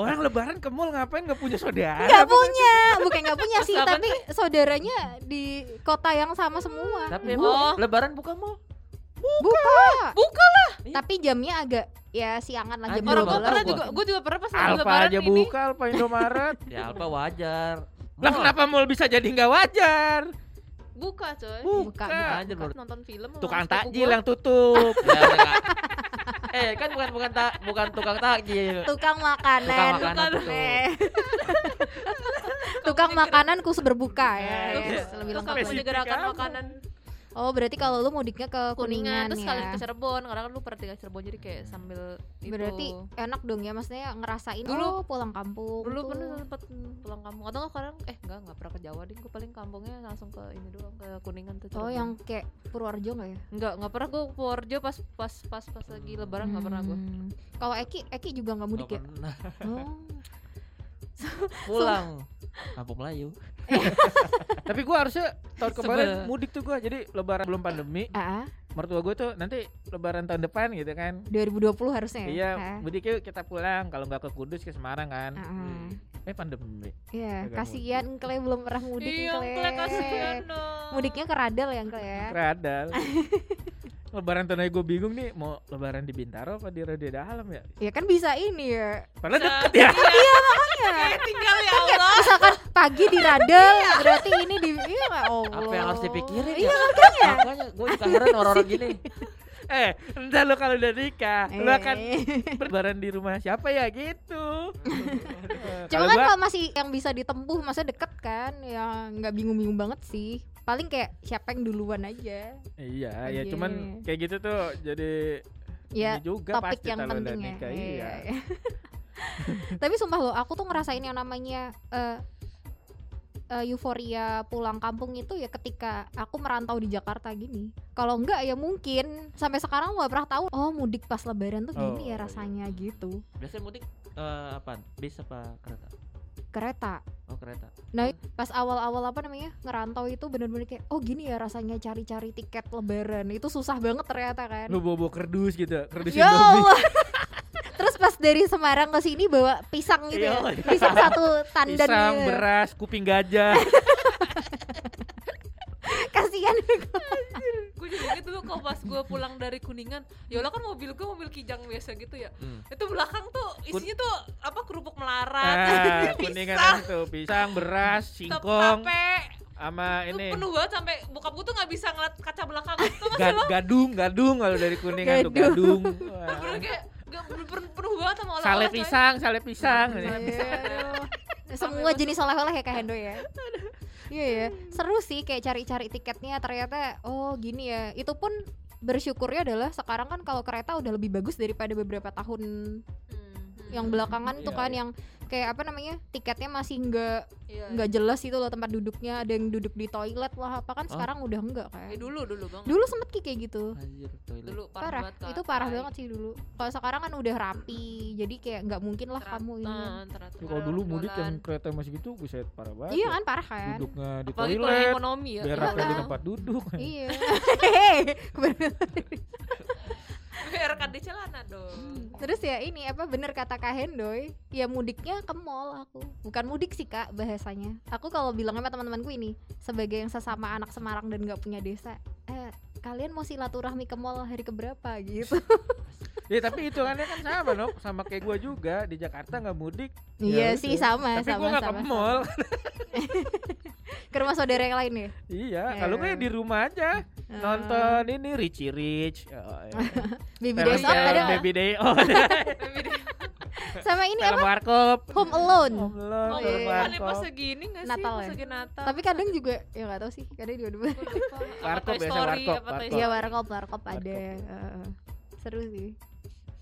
[SPEAKER 4] Orang lebaran ke mall ngapain nggak punya saudara?
[SPEAKER 2] nggak punya bukan nggak punya sih
[SPEAKER 1] Terus apaan
[SPEAKER 2] tapi saudaranya di kota yang sama semua
[SPEAKER 3] Tapi
[SPEAKER 2] Bu-
[SPEAKER 1] Oh.
[SPEAKER 3] emang lebaran buka mall.
[SPEAKER 2] buka
[SPEAKER 1] Buka
[SPEAKER 3] lah.
[SPEAKER 2] tapi jamnya agak ya siangan lah jam
[SPEAKER 3] Anjing,
[SPEAKER 1] orang gua
[SPEAKER 3] Orang
[SPEAKER 2] 12
[SPEAKER 3] gua-
[SPEAKER 1] pernah
[SPEAKER 3] gua-
[SPEAKER 1] juga gua juga pernah pas lagi
[SPEAKER 4] Alfa
[SPEAKER 1] lebaran
[SPEAKER 4] aja
[SPEAKER 1] ini
[SPEAKER 4] buka, Alfa Indomaret.
[SPEAKER 3] Ya apa wajar.
[SPEAKER 4] lah kenapa mall bisa jadi nggak wajar?
[SPEAKER 1] buka coy
[SPEAKER 2] Buka,
[SPEAKER 4] Buka.
[SPEAKER 1] Eh, Buka,
[SPEAKER 3] Anjir menurut.
[SPEAKER 1] nonton film sama
[SPEAKER 4] Tukang
[SPEAKER 1] sepupu
[SPEAKER 4] takjil
[SPEAKER 1] gua.
[SPEAKER 4] yang tutup.
[SPEAKER 3] Ya, mereka- Eh kan bukan bukan tak bukan tukang takjil.
[SPEAKER 2] tukang
[SPEAKER 3] Tukang
[SPEAKER 2] makanan
[SPEAKER 1] bukan.
[SPEAKER 3] makanan tuh.
[SPEAKER 2] Eh.
[SPEAKER 1] Iya.
[SPEAKER 2] tukang makanan kus berbuka
[SPEAKER 1] Terus-
[SPEAKER 2] ya, ya,
[SPEAKER 4] Iya,
[SPEAKER 1] terus
[SPEAKER 2] lebih
[SPEAKER 1] kamu
[SPEAKER 2] lengkap lagi.
[SPEAKER 4] spesifik
[SPEAKER 1] gerakan
[SPEAKER 4] kamu.
[SPEAKER 1] makanan
[SPEAKER 2] oh berarti kalau lu mudiknya
[SPEAKER 1] kuningan
[SPEAKER 2] ke kuningan,
[SPEAKER 1] terus kalau ke
[SPEAKER 2] ya
[SPEAKER 1] Cirebon karena kan lu pernah tinggal di Cirebon jadi kayak sambil itu.
[SPEAKER 2] berarti enak dong ya maksudnya ngerasain
[SPEAKER 1] Dulu-
[SPEAKER 2] oh, pulang kampung
[SPEAKER 1] dulu
[SPEAKER 2] tuh.
[SPEAKER 1] pernah sempet pulang kampung atau nggak sekarang eh enggak nggak pernah ke Jawa deh gue paling kampungnya langsung ke ini doang ke Kuningan tuh
[SPEAKER 2] oh yang kayak Purworejo nggak ya
[SPEAKER 1] nggak nggak pernah gue ke Purworejo pas pas pas pas lagi lebaran nggak pernah gue
[SPEAKER 2] Hmm. Kalau Eki, Eki juga nggak mudik ya?
[SPEAKER 3] Nggak pernah.
[SPEAKER 2] Oh.
[SPEAKER 3] Pulang. Kampung Melayu.
[SPEAKER 4] Tapi gua harusnya tahun kemarin
[SPEAKER 3] Sebel.
[SPEAKER 4] mudik tuh gua. Jadi lebaran belum pandemi,
[SPEAKER 2] Ah, ah,
[SPEAKER 4] mertua gue tuh nanti lebaran tahun depan gitu kan.
[SPEAKER 2] 2020 harusnya. ya?
[SPEAKER 4] Iya,
[SPEAKER 2] Ah,
[SPEAKER 4] mudik yuk kita pulang. Kalau nggak ke Kudus ke Semarang kan.
[SPEAKER 3] Iya,
[SPEAKER 2] ah, ah.
[SPEAKER 4] Eh pandemi.
[SPEAKER 2] Iya,
[SPEAKER 4] Agak
[SPEAKER 2] kasihan Engkle belum pernah mudik
[SPEAKER 1] iya
[SPEAKER 2] Engkle.
[SPEAKER 1] klek kasihan dong
[SPEAKER 2] ya. Mudiknya ke Radel ya Engkle ya.
[SPEAKER 4] Keradal. lebaran tahun gue bingung nih mau lebaran di Bintaro apa di Radia Dalam ya?
[SPEAKER 2] Ya kan bisa ini ya.
[SPEAKER 4] Padahal deket ya.
[SPEAKER 1] kayak tinggal ya
[SPEAKER 2] Kan kayak
[SPEAKER 1] Allah
[SPEAKER 2] misalkan pagi di Radel, berarti ini di iya nggak? Allah.
[SPEAKER 3] Apa yang harus dipikirin
[SPEAKER 2] Iya,
[SPEAKER 3] ya?
[SPEAKER 2] makanya.
[SPEAKER 3] Makanya gue juga heran orang-orang gini.
[SPEAKER 4] eh, entar lo kalau udah nikah, lo akan
[SPEAKER 2] Eh.
[SPEAKER 4] lebaran di rumah siapa ya gitu.
[SPEAKER 2] Cuma
[SPEAKER 4] Kalau
[SPEAKER 2] kan
[SPEAKER 4] gua-
[SPEAKER 2] kalau masih yang bisa ditempuh, maksudnya deket kan, ya nggak bingung-bingung banget sih. Paling kayak siapa yang duluan aja.
[SPEAKER 4] Iya, ya
[SPEAKER 2] Iya.
[SPEAKER 4] cuman kayak gitu tuh jadi
[SPEAKER 2] Ya,
[SPEAKER 4] ini juga
[SPEAKER 2] topik
[SPEAKER 4] pasti
[SPEAKER 2] yang
[SPEAKER 4] kalau udah
[SPEAKER 2] penting ya.
[SPEAKER 4] nikah,
[SPEAKER 2] Iya,
[SPEAKER 4] Iya.
[SPEAKER 2] iya. Tapi sumpah loh, aku tuh ngerasain yang namanya eh, eh, euforia pulang kampung itu ya ketika aku merantau di Jakarta gini. Kalau enggak ya mungkin sampai sekarang nggak pernah tahu. Oh mudik pas Lebaran tuh gini
[SPEAKER 4] Oh,
[SPEAKER 2] ya
[SPEAKER 4] iya.
[SPEAKER 2] rasanya gitu.
[SPEAKER 3] Biasanya mudik eh apaan? Bis apa kereta?
[SPEAKER 2] Kereta.
[SPEAKER 3] Oh kereta.
[SPEAKER 2] Nah pas awal-awal apa namanya ngerantau itu bener-bener kayak oh gini ya rasanya cari-cari tiket Lebaran itu susah banget ternyata kan.
[SPEAKER 4] Lu bobo kerdus gitu, kerdus
[SPEAKER 2] Ya
[SPEAKER 4] Indomie.
[SPEAKER 2] Allah. Terus pas dari Semarang ke sini bawa pisang gitu ya.
[SPEAKER 4] Ya Allah.
[SPEAKER 2] Pisang satu tandan
[SPEAKER 4] Pisang,
[SPEAKER 2] gitu.
[SPEAKER 4] beras, kuping gajah.
[SPEAKER 2] Kasihan.
[SPEAKER 1] gue juga inget dulu kalau pas gue pulang dari kuningan ya Allah kan mobil gue mobil kijang biasa gitu ya
[SPEAKER 3] Hmm.
[SPEAKER 1] itu belakang tuh
[SPEAKER 3] Kun-
[SPEAKER 1] isinya tuh apa kerupuk melarat
[SPEAKER 4] Ah,
[SPEAKER 1] pisang.
[SPEAKER 4] kuningan itu pisang, beras, singkong,
[SPEAKER 1] tape
[SPEAKER 4] sama
[SPEAKER 1] itu
[SPEAKER 4] ini Ah.
[SPEAKER 1] penuh banget sampai bokap gue tuh nggak bisa ngeliat kaca belakang itu
[SPEAKER 4] ga- gadung, gadung kalau dari kuningan tuh gadung.
[SPEAKER 2] Gadung.
[SPEAKER 4] Wah.
[SPEAKER 1] bener kayak gak, penuh, penuh banget sama
[SPEAKER 4] Sale
[SPEAKER 1] oleh-oleh coy.
[SPEAKER 4] pisang, sale pisang.
[SPEAKER 2] Iya, aduh. Semua
[SPEAKER 1] Sampai
[SPEAKER 2] jenis oleh-oleh ya Kak Hendo ya. Iya ya, seru sih kayak cari-cari tiketnya ternyata oh gini ya. Itu pun bersyukurnya adalah sekarang kan kalau kereta udah lebih bagus daripada beberapa tahun
[SPEAKER 1] Hmm, hmm.
[SPEAKER 2] yang belakangan itu
[SPEAKER 3] Iya,
[SPEAKER 2] kan
[SPEAKER 3] iya.
[SPEAKER 2] yang kayak apa namanya tiketnya masih nggak
[SPEAKER 1] Iya. Oh.
[SPEAKER 2] nggak jelas itu loh tempat duduknya ada yang duduk di toilet lah apa kan
[SPEAKER 3] Hah?
[SPEAKER 2] sekarang udah enggak kan
[SPEAKER 1] Eh, dulu dulu bang
[SPEAKER 2] dulu sempet Ki kayak gitu
[SPEAKER 3] Anjir, toilet.
[SPEAKER 1] dulu parah,
[SPEAKER 2] parah,
[SPEAKER 1] banget Kak.
[SPEAKER 2] itu parah
[SPEAKER 1] Tai.
[SPEAKER 2] banget sih dulu kalau sekarang kan udah rapi jadi kayak nggak mungkin lah kamu ini
[SPEAKER 1] Teratan, teratan,
[SPEAKER 4] Kalau dulu mudik
[SPEAKER 1] jualan.
[SPEAKER 4] yang kereta masih gitu, buset parah banget.
[SPEAKER 2] iya
[SPEAKER 4] ya.
[SPEAKER 2] kan parah kan
[SPEAKER 4] Duduknya di
[SPEAKER 1] apalagi kalau
[SPEAKER 4] toilet,
[SPEAKER 1] ekonomi ya
[SPEAKER 4] beraknya di
[SPEAKER 2] Iya.
[SPEAKER 4] tempat duduk.
[SPEAKER 2] iya Hehehe, kebeneran.
[SPEAKER 1] berak di celana dong
[SPEAKER 2] terus ya ini apa bener kata kak Hendoy ya mudiknya ke mall aku bukan mudik sih kak bahasanya aku kalau bilang sama teman-temanku ini sebagai yang sesama anak Semarang dan nggak punya desa eh kalian mau silaturahmi ke mall hari keberapa gitu
[SPEAKER 4] Ya tapi hitungannya kan sama, Nok. Sama kayak gua juga di Jakarta nggak mudik.
[SPEAKER 2] iya
[SPEAKER 4] Ya
[SPEAKER 2] sih
[SPEAKER 4] udah.
[SPEAKER 2] sama
[SPEAKER 4] Tapi
[SPEAKER 2] sama
[SPEAKER 4] gua nggak ke
[SPEAKER 2] sama
[SPEAKER 4] mall.
[SPEAKER 2] ke rumah saudara yang lain ya
[SPEAKER 4] Iya,
[SPEAKER 2] Ya.
[SPEAKER 4] kalau gue di rumah aja
[SPEAKER 2] Eh.
[SPEAKER 4] nonton ini Richie Rich. Oh, iya.
[SPEAKER 2] baby
[SPEAKER 4] Film
[SPEAKER 2] days off
[SPEAKER 4] yang
[SPEAKER 2] ada nggak?
[SPEAKER 4] Iya, Baby Day Off.
[SPEAKER 2] sama ini
[SPEAKER 4] Film
[SPEAKER 2] apa
[SPEAKER 4] Warkop.
[SPEAKER 2] home alone
[SPEAKER 4] Home Alone,
[SPEAKER 1] Oh,
[SPEAKER 2] Iya.
[SPEAKER 4] film
[SPEAKER 1] bukan pas
[SPEAKER 4] Warkop.
[SPEAKER 1] segini gak sih?
[SPEAKER 2] Natal
[SPEAKER 1] pas
[SPEAKER 2] ya?
[SPEAKER 1] lagi Natal.
[SPEAKER 2] tapi kadang juga ya nggak tahu sih kadang juga dua
[SPEAKER 1] Gua lupa. Apa
[SPEAKER 4] Warkop
[SPEAKER 1] Toy
[SPEAKER 4] biasa,
[SPEAKER 1] Story,
[SPEAKER 4] warkop,
[SPEAKER 1] apa Toy
[SPEAKER 4] warkop.
[SPEAKER 1] Story.
[SPEAKER 2] iya warkop warkop ada
[SPEAKER 4] Warkop.
[SPEAKER 2] Heeh. seru sih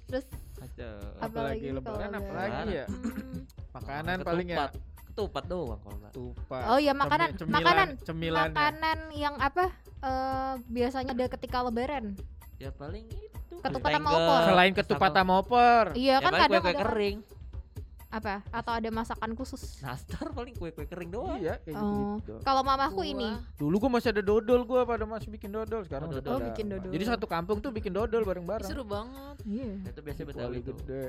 [SPEAKER 2] terus
[SPEAKER 3] Kacau.
[SPEAKER 2] Apa lagi
[SPEAKER 4] Apalagi lebaran
[SPEAKER 2] kalau
[SPEAKER 4] apalagi ya.
[SPEAKER 1] Hmm.
[SPEAKER 4] Makanan
[SPEAKER 3] Ketupat.
[SPEAKER 4] paling ya
[SPEAKER 3] Ketupat doang kalau nggak.
[SPEAKER 4] tupat.
[SPEAKER 2] oh iya makanan
[SPEAKER 4] Cemi- cemilan-
[SPEAKER 2] makanan
[SPEAKER 4] Cemilan. ya.
[SPEAKER 2] makanan yang apa eh, biasanya ada ketika lebaran
[SPEAKER 3] Ya paling itu.
[SPEAKER 2] Ketupat sama
[SPEAKER 3] Tengger.
[SPEAKER 2] opor.
[SPEAKER 4] Selain ketupat sama opor.
[SPEAKER 2] iya
[SPEAKER 3] Ya
[SPEAKER 2] kan
[SPEAKER 3] paling
[SPEAKER 2] kadang
[SPEAKER 3] kue-kue
[SPEAKER 2] ada
[SPEAKER 3] kering.
[SPEAKER 2] apa atau ada masakan khusus
[SPEAKER 3] Nastar paling kue-kue kering doang.
[SPEAKER 4] Iya, kayak
[SPEAKER 2] Oh.
[SPEAKER 4] gitu.
[SPEAKER 2] kalau
[SPEAKER 1] Gua.
[SPEAKER 2] mamaku ini
[SPEAKER 4] Dulu gua masih ada dodol gua pada masih bikin dodol sekarang
[SPEAKER 3] Oh,
[SPEAKER 4] udah
[SPEAKER 3] dodol.
[SPEAKER 4] pada-
[SPEAKER 2] Oh, bikin dodol.
[SPEAKER 4] Jadi satu kampung tuh bikin dodol
[SPEAKER 1] Ih,
[SPEAKER 4] bareng-bareng.
[SPEAKER 1] Seru banget.
[SPEAKER 2] iya
[SPEAKER 3] Ya Itu biasanya
[SPEAKER 4] Kuali
[SPEAKER 3] Betawi itu.
[SPEAKER 4] gede.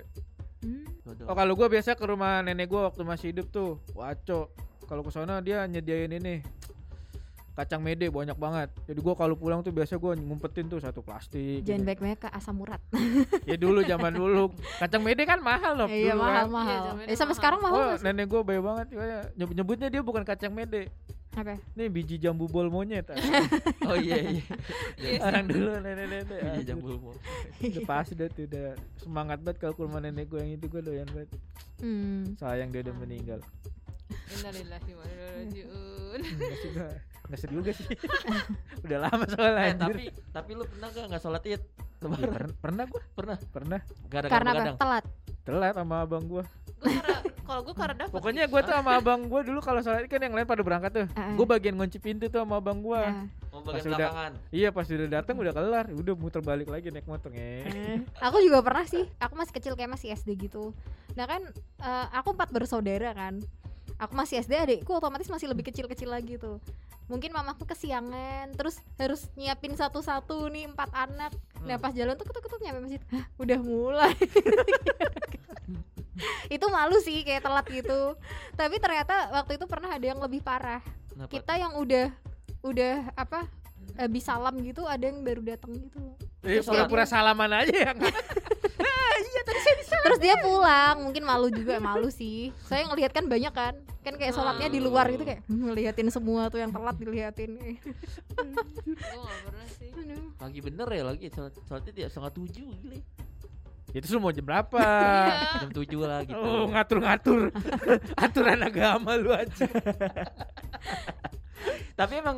[SPEAKER 2] Hmm.
[SPEAKER 3] Dodol.
[SPEAKER 4] Oh kalau gua biasa ke rumah nenek gua waktu masih hidup tuh, waco. Kalau ke sana dia nyediain ini kacang mede banyak banget. Jadi gua kalau pulang tuh biasa gua ngumpetin tuh satu plastik.
[SPEAKER 2] jangan
[SPEAKER 4] gitu.
[SPEAKER 2] baik baik ke asam urat
[SPEAKER 4] Ya dulu zaman dulu kacang mede kan mahal loh.
[SPEAKER 2] iya
[SPEAKER 4] dulu
[SPEAKER 2] mahal
[SPEAKER 4] kan.
[SPEAKER 1] Iya,
[SPEAKER 2] mahal
[SPEAKER 1] zaman
[SPEAKER 2] eh sampai
[SPEAKER 1] mahal.
[SPEAKER 2] sekarang mahal
[SPEAKER 4] Oh,
[SPEAKER 2] nggak sih?
[SPEAKER 4] nenek gua baik banget kayak nyebut nyebutnya dia bukan kacang mede.
[SPEAKER 2] apa
[SPEAKER 4] Nih biji jambu bol monyet.
[SPEAKER 3] Oh iya iya.
[SPEAKER 1] Iya sih.
[SPEAKER 4] Orang Iya, dulu nenek-nenek.
[SPEAKER 3] Biji
[SPEAKER 4] aduh.
[SPEAKER 3] jambul mau.
[SPEAKER 4] Udah pasti dah tuh udah semangat banget kalau ke rumah nenek gua yang itu gua doyan banget.
[SPEAKER 2] hmm.
[SPEAKER 4] Sayang dia udah meninggal.
[SPEAKER 1] Innalillahi wa inna ilaihi raji'un.
[SPEAKER 4] Hmm, Nggak sih, gua- nggak sedih juga sih. udah lama soalnya.
[SPEAKER 3] Eh
[SPEAKER 4] anjir.
[SPEAKER 3] tapi tapi lu pernah gak nggak sholat id?
[SPEAKER 4] Ya,
[SPEAKER 3] Lebaran
[SPEAKER 4] per- pernah gue
[SPEAKER 3] pernah.
[SPEAKER 4] pernah
[SPEAKER 3] Gak ada
[SPEAKER 2] karena apa
[SPEAKER 3] kadang.
[SPEAKER 2] telat
[SPEAKER 4] telat sama abang gue
[SPEAKER 1] Gua karena- Kalau gue karena dapet
[SPEAKER 4] pokoknya
[SPEAKER 1] sih.
[SPEAKER 4] gue tuh sama abang gue dulu kalau sholat kan yang lain pada berangkat tuh
[SPEAKER 2] Heeh.
[SPEAKER 4] gue bagian ngunci pintu tuh sama abang gue
[SPEAKER 2] Nah.
[SPEAKER 3] Mau bagian
[SPEAKER 4] Pas udah-
[SPEAKER 3] belakangan.
[SPEAKER 4] iya pas udah dateng udah kelar udah muter balik lagi naik motor nge
[SPEAKER 2] Eh, aku juga pernah sih aku masih kecil kayak masih SD gitu nah kan eh, aku empat bersaudara kan aku masih SD adikku otomatis masih lebih kecil-kecil lagi tuh mungkin mamaku kesiangan terus harus nyiapin satu-satu nih empat anak nah
[SPEAKER 3] Hmm.
[SPEAKER 2] pas jalan tuh ketuk-ketuk nyampe masjid "Hah, udah mulai itu malu sih kayak telat gitu tapi ternyata waktu itu pernah ada yang lebih parah
[SPEAKER 3] Kenapa?
[SPEAKER 2] kita yang udah udah apa habis salam gitu ada yang baru datang gitu
[SPEAKER 4] eh,
[SPEAKER 3] Terus
[SPEAKER 4] pura-pura salaman aja ya
[SPEAKER 2] terus dia pulang mungkin malu juga malu sih saya ngelihat kan banyak kan kan kayak sholatnya di luar gitu kayak "Hmm, ngeliatin semua tuh yang telat dilihatin
[SPEAKER 1] Gua nggak pernah sih.
[SPEAKER 2] Aduh.
[SPEAKER 3] Pagi bener ya lagi sholat sholat id ya setengah tujuh gila. ya.
[SPEAKER 4] itu lu mau jam berapa
[SPEAKER 1] Iya.
[SPEAKER 4] Ah,
[SPEAKER 3] Jam tujuh lah gitu.
[SPEAKER 4] oh ngatur-ngatur aturan agama lu aja
[SPEAKER 3] Tapi emang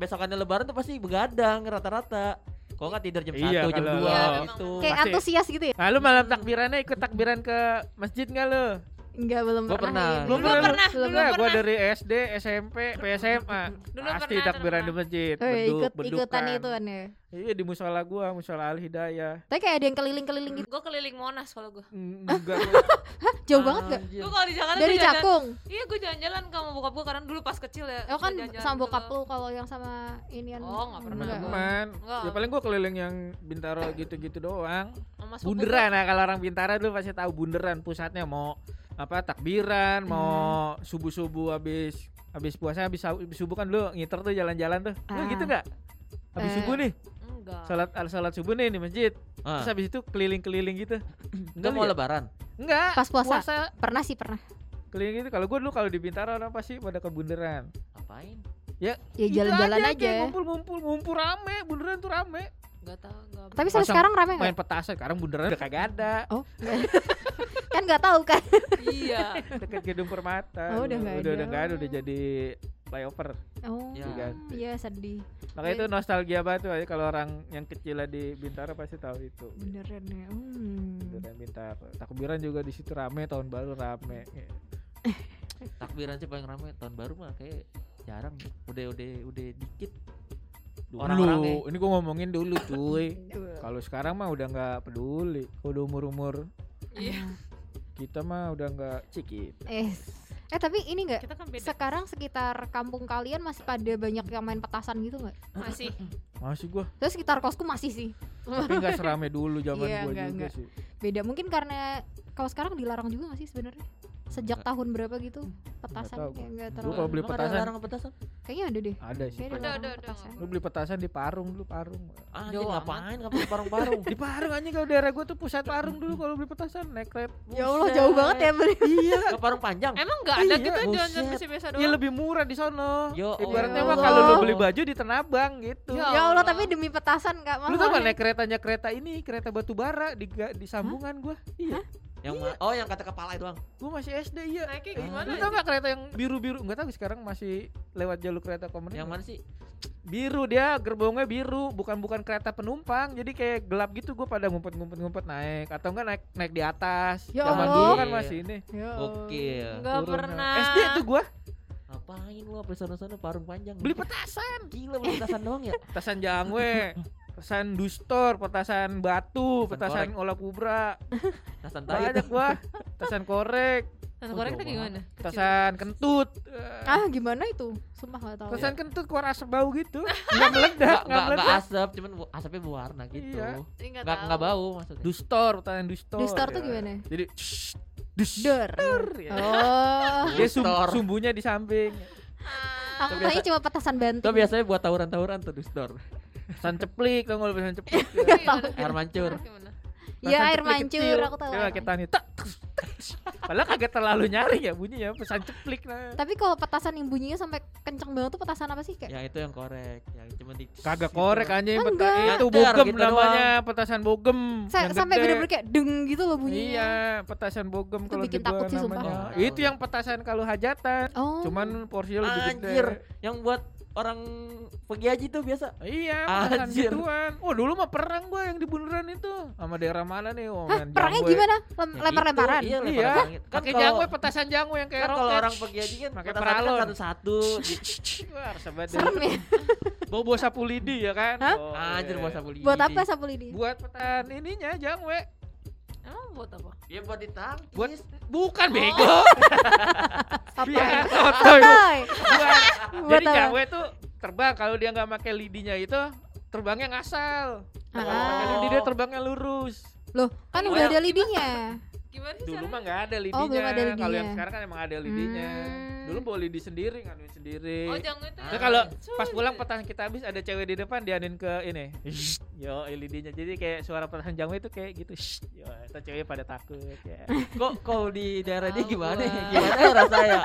[SPEAKER 3] besokannya lebaran tuh pasti begadang rata-rata. Kok nggak tidur jam
[SPEAKER 4] Iya,
[SPEAKER 3] satu, jam
[SPEAKER 4] kalau-
[SPEAKER 3] dua
[SPEAKER 1] Iya,
[SPEAKER 3] gitu.
[SPEAKER 1] emang.
[SPEAKER 2] kayak
[SPEAKER 4] Pasti.
[SPEAKER 2] antusias gitu ya
[SPEAKER 4] nah lu malam takbirannya ikut takbiran ke masjid nggak lu
[SPEAKER 2] enggak belum
[SPEAKER 3] Gua
[SPEAKER 2] pernah,
[SPEAKER 3] pernah.
[SPEAKER 2] ya.
[SPEAKER 3] Gua
[SPEAKER 1] Dulu pernah,
[SPEAKER 2] belum
[SPEAKER 1] dulu
[SPEAKER 4] Enggak, gue
[SPEAKER 1] pernah.
[SPEAKER 4] dari SD, SMP, PSMA
[SPEAKER 1] Dulu
[SPEAKER 4] Pasti
[SPEAKER 1] pernah,
[SPEAKER 4] takbiran di
[SPEAKER 1] pernah.
[SPEAKER 4] masjid
[SPEAKER 2] Oh, ya, ikut
[SPEAKER 4] beduk,
[SPEAKER 2] ikutan
[SPEAKER 4] bedukan.
[SPEAKER 2] itu kan ya
[SPEAKER 4] Iya di musola gua, musola Al Hidayah.
[SPEAKER 2] tapi kayak ada yang keliling-keliling gitu
[SPEAKER 1] Gue keliling Monas kalau gue.
[SPEAKER 4] Enggak.
[SPEAKER 2] Hah, jauh banget gak
[SPEAKER 4] Iya.
[SPEAKER 3] Anjir.
[SPEAKER 1] Gue kalau di Jakarta
[SPEAKER 2] dari
[SPEAKER 1] gua jalan-
[SPEAKER 2] Cakung
[SPEAKER 1] Iya gue jalan-jalan sama bokap gue karena dulu pas kecil ya.
[SPEAKER 2] oh kan
[SPEAKER 1] suka jalan-jalan
[SPEAKER 2] sama
[SPEAKER 1] gitu
[SPEAKER 2] bokap
[SPEAKER 1] loh.
[SPEAKER 2] lu kalau yang sama inian
[SPEAKER 1] Oh, nggak pernah.
[SPEAKER 2] Enggak.
[SPEAKER 4] Teman-teman.
[SPEAKER 1] Enggak.
[SPEAKER 4] Ya paling gua keliling yang Bintaro gitu-gitu doang.
[SPEAKER 1] Sama sepupu
[SPEAKER 4] Bunderan nah kalau orang Bintara dulu pasti tahu bunderan pusatnya mau apa takbiran,
[SPEAKER 2] Hmm.
[SPEAKER 4] mau subuh-subuh habis habis puasa habis, sa- habis subuh kan lu ngiter tuh jalan-jalan tuh. Lu
[SPEAKER 2] Ah.
[SPEAKER 4] gitu nggak? Habis
[SPEAKER 2] Eh.
[SPEAKER 4] subuh nih.
[SPEAKER 1] gua. enggak.
[SPEAKER 4] Salat al- salat subuh nih di masjid.
[SPEAKER 3] Ah,
[SPEAKER 4] Terus habis itu keliling-keliling gitu.
[SPEAKER 3] nggak mau
[SPEAKER 4] Enggak,
[SPEAKER 3] lebaran.
[SPEAKER 4] Enggak.
[SPEAKER 2] Pas puasa. Pernah sih pernah.
[SPEAKER 4] keliling gitu. Kalau gue dulu kalau di Bintaro orang pasti pada ke bundaran.
[SPEAKER 3] Ngapain?
[SPEAKER 2] Ya
[SPEAKER 4] Gitu
[SPEAKER 2] jalan-jalan aja.
[SPEAKER 4] kayak Ngumpul-ngumpul, ngumpul rame, bundaran tuh rame.
[SPEAKER 1] Enggak tahu, enggak.
[SPEAKER 2] Tapi sampai
[SPEAKER 4] Masa
[SPEAKER 2] sekarang rame
[SPEAKER 4] Main
[SPEAKER 2] nggak?
[SPEAKER 4] petasan, sekarang bundaran udah kagak ada.
[SPEAKER 2] Oh, nggak. kan nggak tahu kan?
[SPEAKER 1] iya.
[SPEAKER 4] Dekat gedung Permata.
[SPEAKER 2] Oh, udah
[SPEAKER 4] Dulu.
[SPEAKER 2] nggak
[SPEAKER 4] udah
[SPEAKER 2] ada.
[SPEAKER 4] udah nggak ada, udah jadi flyover.
[SPEAKER 2] Oh,
[SPEAKER 3] Ya.
[SPEAKER 4] kan?
[SPEAKER 2] iya sedih. Iya.
[SPEAKER 4] Makanya itu nostalgia banget tuh kalau orang yang kecil lah di Bintaro pasti tahu itu.
[SPEAKER 2] Beneran ya. Hmm.
[SPEAKER 4] Bundaran Bintaro. Takbiran juga di situ rame tahun baru rame.
[SPEAKER 3] Takbiran sih paling ramai tahun baru mah kayak jarang. ya. Udah udah udah dikit.
[SPEAKER 4] Dulu,
[SPEAKER 3] Orang-orangnya.
[SPEAKER 4] ini gue ngomongin dulu cuy. Kalau sekarang mah udah nggak peduli. Kalau udah umur-umur
[SPEAKER 1] Iya.
[SPEAKER 4] kita mah udah nggak cikit.
[SPEAKER 2] Eh, eh tapi ini nggak?
[SPEAKER 1] Kita kan beda
[SPEAKER 2] Sekarang sekitar kampung kalian masih pada banyak yang main petasan gitu nggak?
[SPEAKER 1] masih.
[SPEAKER 4] Masih gua,
[SPEAKER 2] Terus sekitar kosku masih sih.
[SPEAKER 4] tapi nggak serame dulu zaman
[SPEAKER 2] Iya,
[SPEAKER 4] gua
[SPEAKER 2] nggak,
[SPEAKER 4] juga
[SPEAKER 2] nggak.
[SPEAKER 4] sih.
[SPEAKER 2] Beda mungkin karena kalau sekarang dilarang juga nggak sih sebenarnya? Sejak
[SPEAKER 3] Nggak.
[SPEAKER 2] tahun berapa gitu petasan
[SPEAKER 4] tahu
[SPEAKER 2] kayak nggak
[SPEAKER 4] Lu
[SPEAKER 2] terlalu.
[SPEAKER 4] kalau beli
[SPEAKER 3] Emang ada
[SPEAKER 4] petasan?
[SPEAKER 3] larang petasan?
[SPEAKER 2] Kayaknya ada deh.
[SPEAKER 4] Ada sih.
[SPEAKER 2] Kayaknya
[SPEAKER 1] Udah,
[SPEAKER 2] dilarang
[SPEAKER 1] udah, udah,
[SPEAKER 2] petasan.
[SPEAKER 1] nggak
[SPEAKER 4] Lu beli petasan di Parung dulu Parung. Oh,
[SPEAKER 3] Ah,
[SPEAKER 4] iya,
[SPEAKER 1] Jauh amat.
[SPEAKER 3] ngapain? Ngapain ke parung-parung?
[SPEAKER 4] Di Parung anjing kalau daerah gua tuh pusat Parung dulu kalau beli petasan naik kereta.
[SPEAKER 2] Ya Allah jauh banget ya beli.
[SPEAKER 4] Iya.
[SPEAKER 3] Ke parung panjang.
[SPEAKER 1] Emang enggak ada
[SPEAKER 4] Iya,
[SPEAKER 1] gitu
[SPEAKER 3] buset.
[SPEAKER 1] jalan-jalan biasa-biasa doang.
[SPEAKER 4] Ya lebih murah di sono. Eh,
[SPEAKER 3] Yo
[SPEAKER 4] Ibaratnya
[SPEAKER 2] Allah.
[SPEAKER 4] mah kalau lu beli baju di Tenabang gitu.
[SPEAKER 1] Ya
[SPEAKER 2] Ya Allah
[SPEAKER 1] Allah.
[SPEAKER 2] tapi demi petasan nggak mahal.
[SPEAKER 4] Lu tau gak naik keretanya kereta ini kereta batu bara di ga- di sambungan gua. Iya.
[SPEAKER 3] Yang ma- oh yang kata kepala doang.
[SPEAKER 4] Gua masih SD iya.
[SPEAKER 1] Naiknya
[SPEAKER 3] Eh,
[SPEAKER 1] gimana?
[SPEAKER 4] Lu tau gak kereta yang biru-biru? Nggak tahu sekarang masih lewat jalur kereta komuter.
[SPEAKER 3] Yang mana sih?
[SPEAKER 4] Biru dia, gerbongnya biru, bukan bukan kereta penumpang. Jadi kayak gelap gitu gua pada ngumpet-ngumpet-ngumpet naik atau enggak naik naik di atas.
[SPEAKER 2] Ya
[SPEAKER 4] Zaman
[SPEAKER 2] Allah.
[SPEAKER 4] dulu kan masih ini.
[SPEAKER 2] Ya Allah.
[SPEAKER 4] Oh.
[SPEAKER 3] Gokil.
[SPEAKER 1] Enggak
[SPEAKER 4] Turun. ya.
[SPEAKER 1] pernah.
[SPEAKER 4] SD tuh gua
[SPEAKER 3] Ngapain lu apa sono-sono parung panjang?
[SPEAKER 4] beli petasan.
[SPEAKER 3] Gila beli petasan doang ya?
[SPEAKER 4] Petasan jangwe. Petasan dustor, petasan batu,
[SPEAKER 3] Petasan
[SPEAKER 4] petasan Nah, olah kubra,
[SPEAKER 3] Petasan tai.
[SPEAKER 4] banyak gua, petasan korek,
[SPEAKER 1] Nasi goreng tuh
[SPEAKER 3] Bodoh
[SPEAKER 1] gimana?
[SPEAKER 4] petasan kentut, eh,
[SPEAKER 2] Ah gimana itu? Sumpah nggak tahu. Ya.
[SPEAKER 4] petasan kentut keluar asap bau gitu, Iya. nggak meledak,
[SPEAKER 3] Enggak
[SPEAKER 4] nggak
[SPEAKER 3] enggak
[SPEAKER 4] meledak,
[SPEAKER 3] asap, cuman bu- asapnya berwarna gitu.
[SPEAKER 4] Iya.
[SPEAKER 1] Enggak
[SPEAKER 3] Enggak enggak bau maksudnya.
[SPEAKER 4] dustor, petasan dustor.
[SPEAKER 2] Dustor tuh
[SPEAKER 4] ya.
[SPEAKER 2] gimana?
[SPEAKER 4] Jadi shh, dustor.
[SPEAKER 2] Dor.
[SPEAKER 4] ya.
[SPEAKER 2] Oh.
[SPEAKER 4] Dia sum-
[SPEAKER 3] Dustor.
[SPEAKER 4] sumbunya di samping.
[SPEAKER 2] Aku tanya cuma petasan
[SPEAKER 3] Itu
[SPEAKER 2] banting.
[SPEAKER 3] biasanya buat tawuran-tawuran tuh dustor.
[SPEAKER 4] Pesan ceplik, tau nggak lu pesan ceplik?
[SPEAKER 3] Air mancur.
[SPEAKER 2] Iya
[SPEAKER 4] Pesan
[SPEAKER 2] air
[SPEAKER 4] ceplik
[SPEAKER 2] mancur
[SPEAKER 4] kecil.
[SPEAKER 2] aku tahu.
[SPEAKER 4] Dia
[SPEAKER 2] air
[SPEAKER 4] pakai
[SPEAKER 2] mancur.
[SPEAKER 4] tani. tak, tus, tak, tus. Padahal kagak terlalu nyaring ya bunyinya pesan ceplik nah.
[SPEAKER 2] Tapi kalau petasan yang bunyinya sampai kenceng banget tuh petasan apa sih kayak?
[SPEAKER 3] Ya itu yang korek, yang cuma di
[SPEAKER 4] Kagak korek anjing
[SPEAKER 2] Enggak.
[SPEAKER 4] peta itu
[SPEAKER 3] Nyadar
[SPEAKER 4] bogem
[SPEAKER 3] gitu
[SPEAKER 4] namanya, petasan bogem.
[SPEAKER 2] Sa-
[SPEAKER 4] Iya. yang
[SPEAKER 2] sampai
[SPEAKER 4] gede.
[SPEAKER 2] bener-bener kayak deng gitu loh
[SPEAKER 4] Iya,
[SPEAKER 2] bunyinya.
[SPEAKER 4] petasan bogem
[SPEAKER 2] Itu
[SPEAKER 4] kalau di
[SPEAKER 2] bikin
[SPEAKER 4] gua
[SPEAKER 2] takut sih, sumpah.
[SPEAKER 4] namanya.
[SPEAKER 3] Oh.
[SPEAKER 4] Itu yang petasan kalau hajatan,
[SPEAKER 2] Oh.
[SPEAKER 4] cuman porsinya lebih gede.
[SPEAKER 3] Anjir, yang buat orang pergi haji tuh biasa. Ya,
[SPEAKER 4] Iya, petasan
[SPEAKER 3] Anjir.
[SPEAKER 4] gituan. Oh, dulu mah perang gua yang di bundaran itu. Sama daerah mana nih? Oh,
[SPEAKER 2] Hah,
[SPEAKER 4] main
[SPEAKER 2] perangnya
[SPEAKER 4] jangwe.
[SPEAKER 2] gimana? Lem-
[SPEAKER 3] Ya
[SPEAKER 2] Lempar-lemparan.
[SPEAKER 3] gitu, Iya,
[SPEAKER 4] Iya.
[SPEAKER 3] lempar Kan
[SPEAKER 4] Pakai
[SPEAKER 3] kalau-
[SPEAKER 4] jangwe petasan jangwe yang kayak
[SPEAKER 3] Kan kalau
[SPEAKER 4] roket.
[SPEAKER 3] orang pergi haji kan
[SPEAKER 4] Pakai
[SPEAKER 3] petasan kan
[SPEAKER 4] paralon.
[SPEAKER 3] satu-satu.
[SPEAKER 4] Wah, sahabat
[SPEAKER 2] Serem ya.
[SPEAKER 4] Bobo sapu lidi ya kan?
[SPEAKER 2] Hah?
[SPEAKER 4] Oh,
[SPEAKER 3] Ah, Anjir
[SPEAKER 4] iya.
[SPEAKER 3] buat sapu lidi.
[SPEAKER 2] Buat apa sapu lidi?
[SPEAKER 4] Buat petasan ininya ya. jangwe.
[SPEAKER 1] Emang buat apa?
[SPEAKER 3] Ya buat ditangkis.
[SPEAKER 4] Buat bukan
[SPEAKER 1] Oh.
[SPEAKER 4] bego. Iya, sotoy.
[SPEAKER 2] Toy.
[SPEAKER 4] Buat
[SPEAKER 2] Buat
[SPEAKER 4] Jadi
[SPEAKER 2] apa?
[SPEAKER 4] Jawa itu terbang kalau dia nggak pakai lidinya itu terbangnya ngasal. Kalau
[SPEAKER 2] Ah.
[SPEAKER 4] pakai lidi dia terbangnya lurus.
[SPEAKER 2] Loh, kan udah ada lidinya.
[SPEAKER 1] Gimana sih
[SPEAKER 4] Dulu
[SPEAKER 1] caranya?
[SPEAKER 4] mah nggak ada lidinya.
[SPEAKER 2] belum ada
[SPEAKER 4] Kalau
[SPEAKER 2] lidinya.
[SPEAKER 4] yang sekarang kan emang ada lidinya.
[SPEAKER 2] Hmm.
[SPEAKER 4] Dulu bawa lidi sendiri, nganuin sendiri.
[SPEAKER 1] Oh, jangan itu.
[SPEAKER 4] Terus
[SPEAKER 1] ya.
[SPEAKER 4] kalau
[SPEAKER 1] Cuy.
[SPEAKER 4] pas pulang petasan kita habis ada cewek di depan dianin ke ini. Yo, lidinya. Jadi kayak suara petasan jangwe itu kayak gitu. Yo, itu ceweknya pada takut ya.
[SPEAKER 3] Kok kalau di daerah dia
[SPEAKER 1] Tahu
[SPEAKER 3] gimana? ya?
[SPEAKER 1] gua.
[SPEAKER 3] Gimana ya rasanya?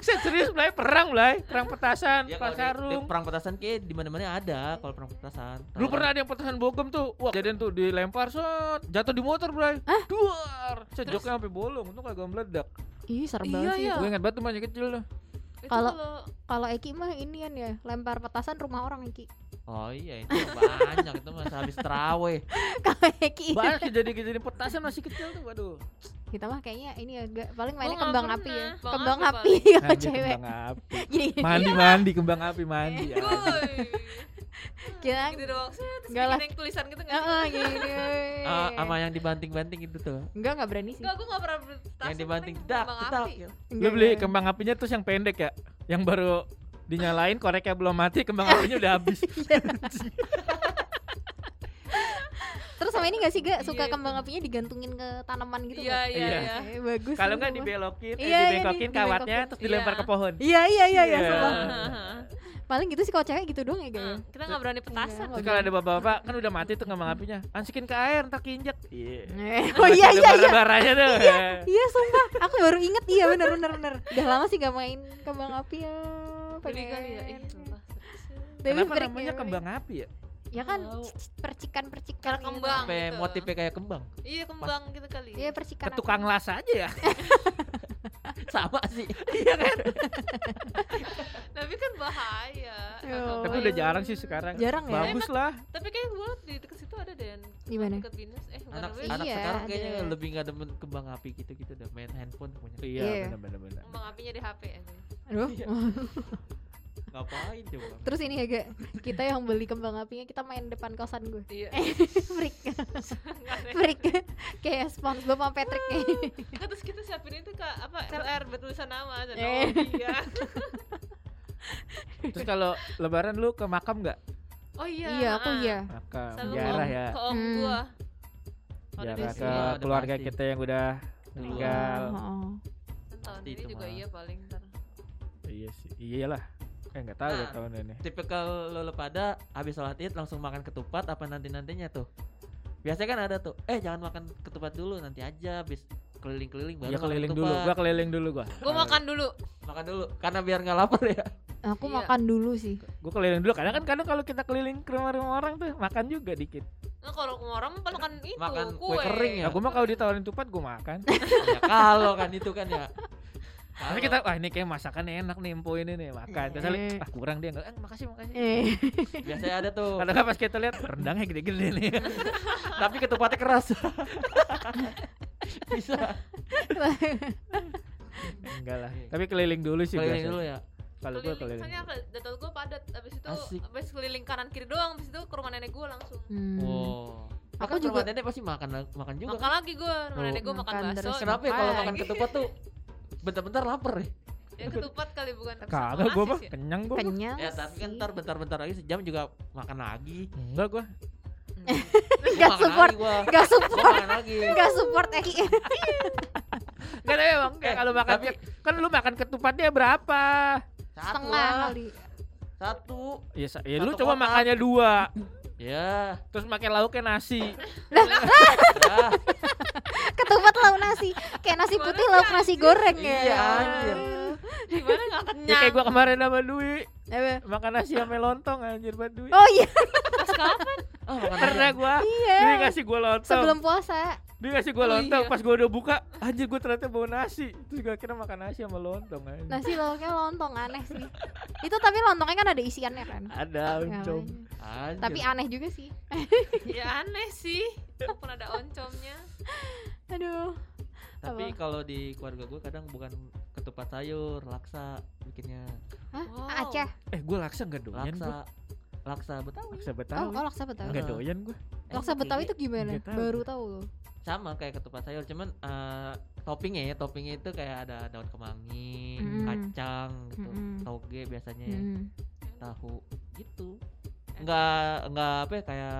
[SPEAKER 4] Saya serius mulai perang mulai, perang petasan,
[SPEAKER 3] ya, kalau
[SPEAKER 4] perang
[SPEAKER 3] di- di,
[SPEAKER 4] sarung.
[SPEAKER 3] perang petasan kayak di mana-mana ada kalau perang petasan.
[SPEAKER 4] Dulu
[SPEAKER 3] Tawuran.
[SPEAKER 4] pernah ada yang petasan bogem tuh. Wah, kejadian tuh dilempar set, jatuh di motor, Bray. Duar. Sejoknya sampai bolong, untung kagak meledak.
[SPEAKER 2] Ih, serem
[SPEAKER 1] Iya,
[SPEAKER 2] banget sih.
[SPEAKER 1] iya.
[SPEAKER 4] Gue ingat banget tuh masih kecil tuh.
[SPEAKER 1] Itu
[SPEAKER 2] kalau-
[SPEAKER 1] kalau
[SPEAKER 2] Kalau Eki mah inian ya, lempar petasan rumah orang Eki.
[SPEAKER 3] Oh iya itu banyak itu masa habis terawih.
[SPEAKER 2] Kalau Eki
[SPEAKER 4] Banyak kejadian-kejadian petasan masih kecil tuh, waduh.
[SPEAKER 2] kita mah kayaknya ini agak paling mainnya
[SPEAKER 1] Gua nggak
[SPEAKER 2] kembang
[SPEAKER 1] pernah.
[SPEAKER 2] api ya.
[SPEAKER 1] Kembang
[SPEAKER 2] Kembang
[SPEAKER 1] api
[SPEAKER 2] api kalau Oh,
[SPEAKER 4] gitu
[SPEAKER 2] cewek.
[SPEAKER 4] api.
[SPEAKER 2] Gini,
[SPEAKER 4] Mandi-mandi kembang api mandi. ya.
[SPEAKER 2] Kita-
[SPEAKER 1] gitu doang set, terus
[SPEAKER 2] Enggak lah.
[SPEAKER 1] bikin yang tulisan gitu nggak sih?
[SPEAKER 2] Heeh, gini. Iya.
[SPEAKER 3] Ah, sama yang dibanting-banting itu tuh.
[SPEAKER 2] Enggak, enggak berani sih.
[SPEAKER 1] Enggak, gue nggak pernah bertas
[SPEAKER 3] yang dibanting dak dak.
[SPEAKER 4] Lu
[SPEAKER 2] Enggak,
[SPEAKER 4] beli
[SPEAKER 2] enggak.
[SPEAKER 4] kembang apinya terus yang pendek ya, yang baru dinyalain koreknya belum mati kembang apinya udah habis
[SPEAKER 2] Iya. Terus sama ini gak sih gak suka
[SPEAKER 1] Iya,
[SPEAKER 2] kembang apinya digantungin ke tanaman gitu
[SPEAKER 1] Iya,
[SPEAKER 2] nggak?
[SPEAKER 1] iya,
[SPEAKER 3] Iya.
[SPEAKER 1] iya.
[SPEAKER 2] Eh, bagus.
[SPEAKER 3] Kalau
[SPEAKER 2] tuh,
[SPEAKER 3] nggak
[SPEAKER 2] gua.
[SPEAKER 3] dibelokin, eh,
[SPEAKER 2] Iya, iya,
[SPEAKER 3] dibengkokin
[SPEAKER 2] di-
[SPEAKER 3] kawatnya
[SPEAKER 2] dibengkokin.
[SPEAKER 3] terus dilempar
[SPEAKER 1] Iya.
[SPEAKER 3] ke pohon.
[SPEAKER 2] Iya iya iya iya
[SPEAKER 3] Iya.
[SPEAKER 2] sumpah.
[SPEAKER 1] Hahaha.
[SPEAKER 2] Paling gitu sih kalau cewek gitu doang ya gak ya?
[SPEAKER 1] Hmm, Kita nggak berani petasan.
[SPEAKER 2] Iya.
[SPEAKER 3] Terus kalau ada bapak-bapak kan udah mati tuh kembang apinya, ansikin ke air ntar keinjek. Iya.
[SPEAKER 2] Eh, Oh iya iya iya.
[SPEAKER 3] Lebarannya tuh.
[SPEAKER 2] Iya sumpah, aku baru inget iya bener bener bener. Udah lama sih gak main kembang api ya.
[SPEAKER 1] Beli
[SPEAKER 2] pengen.
[SPEAKER 1] kali ya. Ih, sumpah.
[SPEAKER 2] Tapi
[SPEAKER 3] Iya. Kenapa
[SPEAKER 2] break
[SPEAKER 3] namanya
[SPEAKER 2] ya,
[SPEAKER 3] kembang api ya?
[SPEAKER 2] break. Ya kan
[SPEAKER 1] Tahu.
[SPEAKER 2] percikan percikan.
[SPEAKER 1] Karena kembang.
[SPEAKER 3] Sampai
[SPEAKER 1] gitu.
[SPEAKER 3] motifnya kayak kembang.
[SPEAKER 1] Iya kembang gitu kali.
[SPEAKER 2] Iya percikan.
[SPEAKER 3] Ke
[SPEAKER 2] api.
[SPEAKER 3] tukang las aja ya. Sama sih. Iya kan?
[SPEAKER 1] Tapi kan bahaya. ya?
[SPEAKER 2] Yo.
[SPEAKER 4] Tapi udah jarang sih sekarang.
[SPEAKER 2] Oh, iya. Jarang ya?
[SPEAKER 4] Bagus lah.
[SPEAKER 1] Tapi kayak gue di dekat situ ada deh.
[SPEAKER 2] Di mana?
[SPEAKER 1] Dekat Binus. Eh bukan
[SPEAKER 3] Anak,
[SPEAKER 1] apa ya?
[SPEAKER 3] anak
[SPEAKER 2] Iya,
[SPEAKER 3] sekarang
[SPEAKER 2] ada.
[SPEAKER 3] kayaknya lebih nggak demen kembang api gitu-gitu dah main handphone punya.
[SPEAKER 2] Iya.
[SPEAKER 4] benar benar.
[SPEAKER 1] Kembang apinya di eh, HP aja.
[SPEAKER 2] Aduh.
[SPEAKER 3] Iya. Ngapain coba?
[SPEAKER 2] Terus ini ya gak kita yang beli kembang apinya kita main depan kosan gue.
[SPEAKER 1] Iya.
[SPEAKER 2] Freak,
[SPEAKER 1] Nggak ada.
[SPEAKER 2] Eh. freak. Kayak SpongeBob sama Patrick kayak. gitu.
[SPEAKER 1] Nggak, terus kita siapin itu ke apa LR bertulisan nama aja.
[SPEAKER 2] Eh.
[SPEAKER 1] Oh, iya.
[SPEAKER 4] Terus kalau lebaran lu ke makam nggak?
[SPEAKER 1] Oh iya.
[SPEAKER 2] Iya, aku
[SPEAKER 1] ah.
[SPEAKER 2] iya.
[SPEAKER 4] Makam
[SPEAKER 1] Sama
[SPEAKER 4] jarah
[SPEAKER 1] om-
[SPEAKER 4] ya.
[SPEAKER 1] Ke om
[SPEAKER 2] Hmm.
[SPEAKER 1] gua. Kalau di
[SPEAKER 4] Jarah
[SPEAKER 1] sini
[SPEAKER 4] ke
[SPEAKER 3] Iya, udah
[SPEAKER 4] keluarga
[SPEAKER 3] pasti.
[SPEAKER 4] kita yang udah meninggal.
[SPEAKER 2] Oh, oh, oh.
[SPEAKER 1] kan tahun
[SPEAKER 3] Pasti
[SPEAKER 1] ini
[SPEAKER 3] itu
[SPEAKER 1] juga
[SPEAKER 3] mah.
[SPEAKER 1] iya paling ntar.
[SPEAKER 4] Iya sih. Iyalah. Eh nggak tahu ya
[SPEAKER 3] Nah.
[SPEAKER 4] tahun ini.
[SPEAKER 3] Tipikal lo pada habis sholat id langsung makan ketupat apa nanti nantinya tuh? Biasanya kan ada tuh, eh jangan makan ketupat dulu nanti aja, habis keliling-keliling baru
[SPEAKER 4] Ya
[SPEAKER 3] makan
[SPEAKER 4] keliling dulu.
[SPEAKER 3] ketupat.
[SPEAKER 4] Gua keliling dulu gua.
[SPEAKER 1] Gua makan dulu.
[SPEAKER 3] makan dulu karena biar nggak lapar ya.
[SPEAKER 2] Aku
[SPEAKER 1] Iya.
[SPEAKER 2] makan dulu sih.
[SPEAKER 4] Gua keliling dulu. Karena kan kadang kalau kita keliling ke rumah-rumah orang tuh makan juga dikit.
[SPEAKER 1] Nah, kalau ke orang kan makan itu
[SPEAKER 3] Makan kue kering ya.
[SPEAKER 4] Ya gua mah kalau ditawarin tupat gua makan.
[SPEAKER 3] ya kalau kan itu kan ya.
[SPEAKER 4] Tapi kita wah ini kayak masakan enak nih empo ini nih makan. Terus
[SPEAKER 2] Eh.
[SPEAKER 4] ah kurang dia enggak. Eh, makasih makasih.
[SPEAKER 2] Eh,
[SPEAKER 3] biasanya ada tuh.
[SPEAKER 4] Kadang kadang pas kita lihat rendangnya gede-gede nih.
[SPEAKER 3] tapi ketupatnya keras. Bisa.
[SPEAKER 4] Enggak lah. Tapi keliling dulu sih
[SPEAKER 3] Keliling
[SPEAKER 4] biasanya.
[SPEAKER 3] dulu ya.
[SPEAKER 4] Kalau gua
[SPEAKER 1] keliling.
[SPEAKER 4] keliling.
[SPEAKER 1] Soalnya apa? Data gua padat. Abis itu
[SPEAKER 3] Asik.
[SPEAKER 1] abis keliling kanan kiri doang. Abis itu ke rumah nenek gua langsung.
[SPEAKER 2] hmm.
[SPEAKER 3] Wow.
[SPEAKER 2] Aku
[SPEAKER 3] Aku
[SPEAKER 2] juga-
[SPEAKER 3] juga Oh. nenek pasti makan makan juga.
[SPEAKER 1] makan lagi gua rumah
[SPEAKER 3] Loh.
[SPEAKER 1] nenek gua makan,
[SPEAKER 2] Makan
[SPEAKER 1] bakso. Iya,
[SPEAKER 2] terus.
[SPEAKER 3] Kenapa ya kalau makan
[SPEAKER 1] Lagi.
[SPEAKER 3] ketupat tuh bentar-bentar lapar ya?
[SPEAKER 1] Ya ketupat kali bukan
[SPEAKER 4] Kagak gua mah
[SPEAKER 1] Oasis ya?
[SPEAKER 4] kenyang gua.
[SPEAKER 2] Kenyang
[SPEAKER 3] Ya tapi kan
[SPEAKER 2] sih.
[SPEAKER 3] ntar bentar-bentar lagi sejam juga makan lagi.
[SPEAKER 4] Enggak gua.
[SPEAKER 3] Gua
[SPEAKER 2] Nggak
[SPEAKER 3] makan
[SPEAKER 2] support.
[SPEAKER 3] lagi gua.
[SPEAKER 2] Nggak
[SPEAKER 3] Gua
[SPEAKER 2] support,
[SPEAKER 3] makan lagi.
[SPEAKER 2] nggak support eh.
[SPEAKER 4] Enggak ada emang enggak
[SPEAKER 3] Eh,
[SPEAKER 4] kalau makan
[SPEAKER 3] tapi-
[SPEAKER 4] kan lu makan ketupatnya berapa?
[SPEAKER 3] Satu
[SPEAKER 2] Setengah
[SPEAKER 3] lah.
[SPEAKER 2] kali.
[SPEAKER 3] Satu.
[SPEAKER 4] Ya, sa- ya lu
[SPEAKER 3] Satu
[SPEAKER 4] coba
[SPEAKER 3] kotak.
[SPEAKER 4] makannya dua,
[SPEAKER 3] Ya.
[SPEAKER 4] terus makan lauknya nasi.
[SPEAKER 3] ya.
[SPEAKER 2] Ketupat lauk nasi, kayak nasi
[SPEAKER 1] Gimana
[SPEAKER 2] putih
[SPEAKER 1] sih,
[SPEAKER 2] lauk nasi goreng ya.
[SPEAKER 3] Iya anjir.
[SPEAKER 1] Gimana nggak
[SPEAKER 4] Ya
[SPEAKER 1] kenyang?
[SPEAKER 4] kayak gua kemarin sama Dwi,
[SPEAKER 2] Apa?
[SPEAKER 4] makan nasi sama lontong anjir buat Dwi.
[SPEAKER 2] Eh, Oh iya,
[SPEAKER 1] Pas kapan?
[SPEAKER 3] Ah, makan
[SPEAKER 4] Karena
[SPEAKER 3] aja.
[SPEAKER 4] gua Dwi
[SPEAKER 2] iya.
[SPEAKER 4] ngasih gua lontong.
[SPEAKER 2] Sebelum puasa.
[SPEAKER 4] Dia ngasih gue
[SPEAKER 1] Oh,
[SPEAKER 4] lontong,
[SPEAKER 1] iya.
[SPEAKER 4] pas gue udah buka, anjir gue ternyata bawa nasi Terus gue kira makan nasi sama lontong anjir.
[SPEAKER 2] Nasi lauknya lontong aneh sih. Itu tapi lontongnya kan ada isiannya kan.
[SPEAKER 4] Ada oncom
[SPEAKER 2] Namanya.
[SPEAKER 3] Anjir.
[SPEAKER 2] Tapi
[SPEAKER 4] Iya.
[SPEAKER 2] aneh juga sih.
[SPEAKER 1] ya aneh sih. Pun ada oncomnya.
[SPEAKER 2] Aduh.
[SPEAKER 3] Tapi
[SPEAKER 2] Apa?
[SPEAKER 3] kalau di keluarga gue kadang bukan ketupat sayur, laksa bikinnya.
[SPEAKER 2] Hah?
[SPEAKER 1] Wow.
[SPEAKER 2] Oh, Aceh.
[SPEAKER 4] Eh gue laksa gak doyan gue
[SPEAKER 3] Laksa. Laksa Betawi. Eh,
[SPEAKER 4] Laksa
[SPEAKER 2] Oh,
[SPEAKER 4] Betawi
[SPEAKER 2] oh laksa Betawi.
[SPEAKER 4] Gak doyan gue
[SPEAKER 3] Hmm.
[SPEAKER 2] Laksa Betawi itu gimana?
[SPEAKER 4] ya. Nggak tahu.
[SPEAKER 2] Baru tahu loh.
[SPEAKER 3] sama kayak ketupat sayur, cuman eh, toppingnya ya, toppingnya itu kayak ada daun kemangi,
[SPEAKER 2] Mm.
[SPEAKER 3] kacang gitu,
[SPEAKER 2] Mm-mm.
[SPEAKER 3] toge biasanya,
[SPEAKER 4] Iya.
[SPEAKER 3] ya,
[SPEAKER 2] Hmm.
[SPEAKER 3] tahu gitu. Enggak enggak apa ya kayak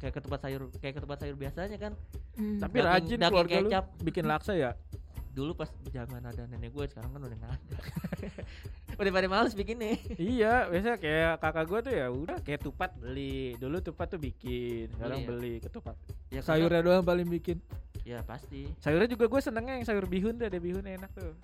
[SPEAKER 3] kayak ketupat sayur, kayak ketupat sayur biasanya kan.
[SPEAKER 2] Hmm.
[SPEAKER 4] Tapi
[SPEAKER 3] Daging-
[SPEAKER 4] rajin
[SPEAKER 3] daging
[SPEAKER 4] keluarga lu
[SPEAKER 3] kecap.
[SPEAKER 4] bikin laksa ya
[SPEAKER 3] Dulu pas zaman ada nenek gue, sekarang kan udah nggak ada. udah pada males bikinnya.
[SPEAKER 4] Iya biasanya kayak kakak gue tuh ya udah kayak tupat beli Dulu tupat tuh bikin, sekarang
[SPEAKER 3] ya?
[SPEAKER 4] beli ketupat
[SPEAKER 3] Ya, karena-
[SPEAKER 4] Sayurnya doang paling bikin
[SPEAKER 3] Ya pasti.
[SPEAKER 4] Sayurnya juga gue senengnya yang sayur bihun tuh ada bihunnya enak tuh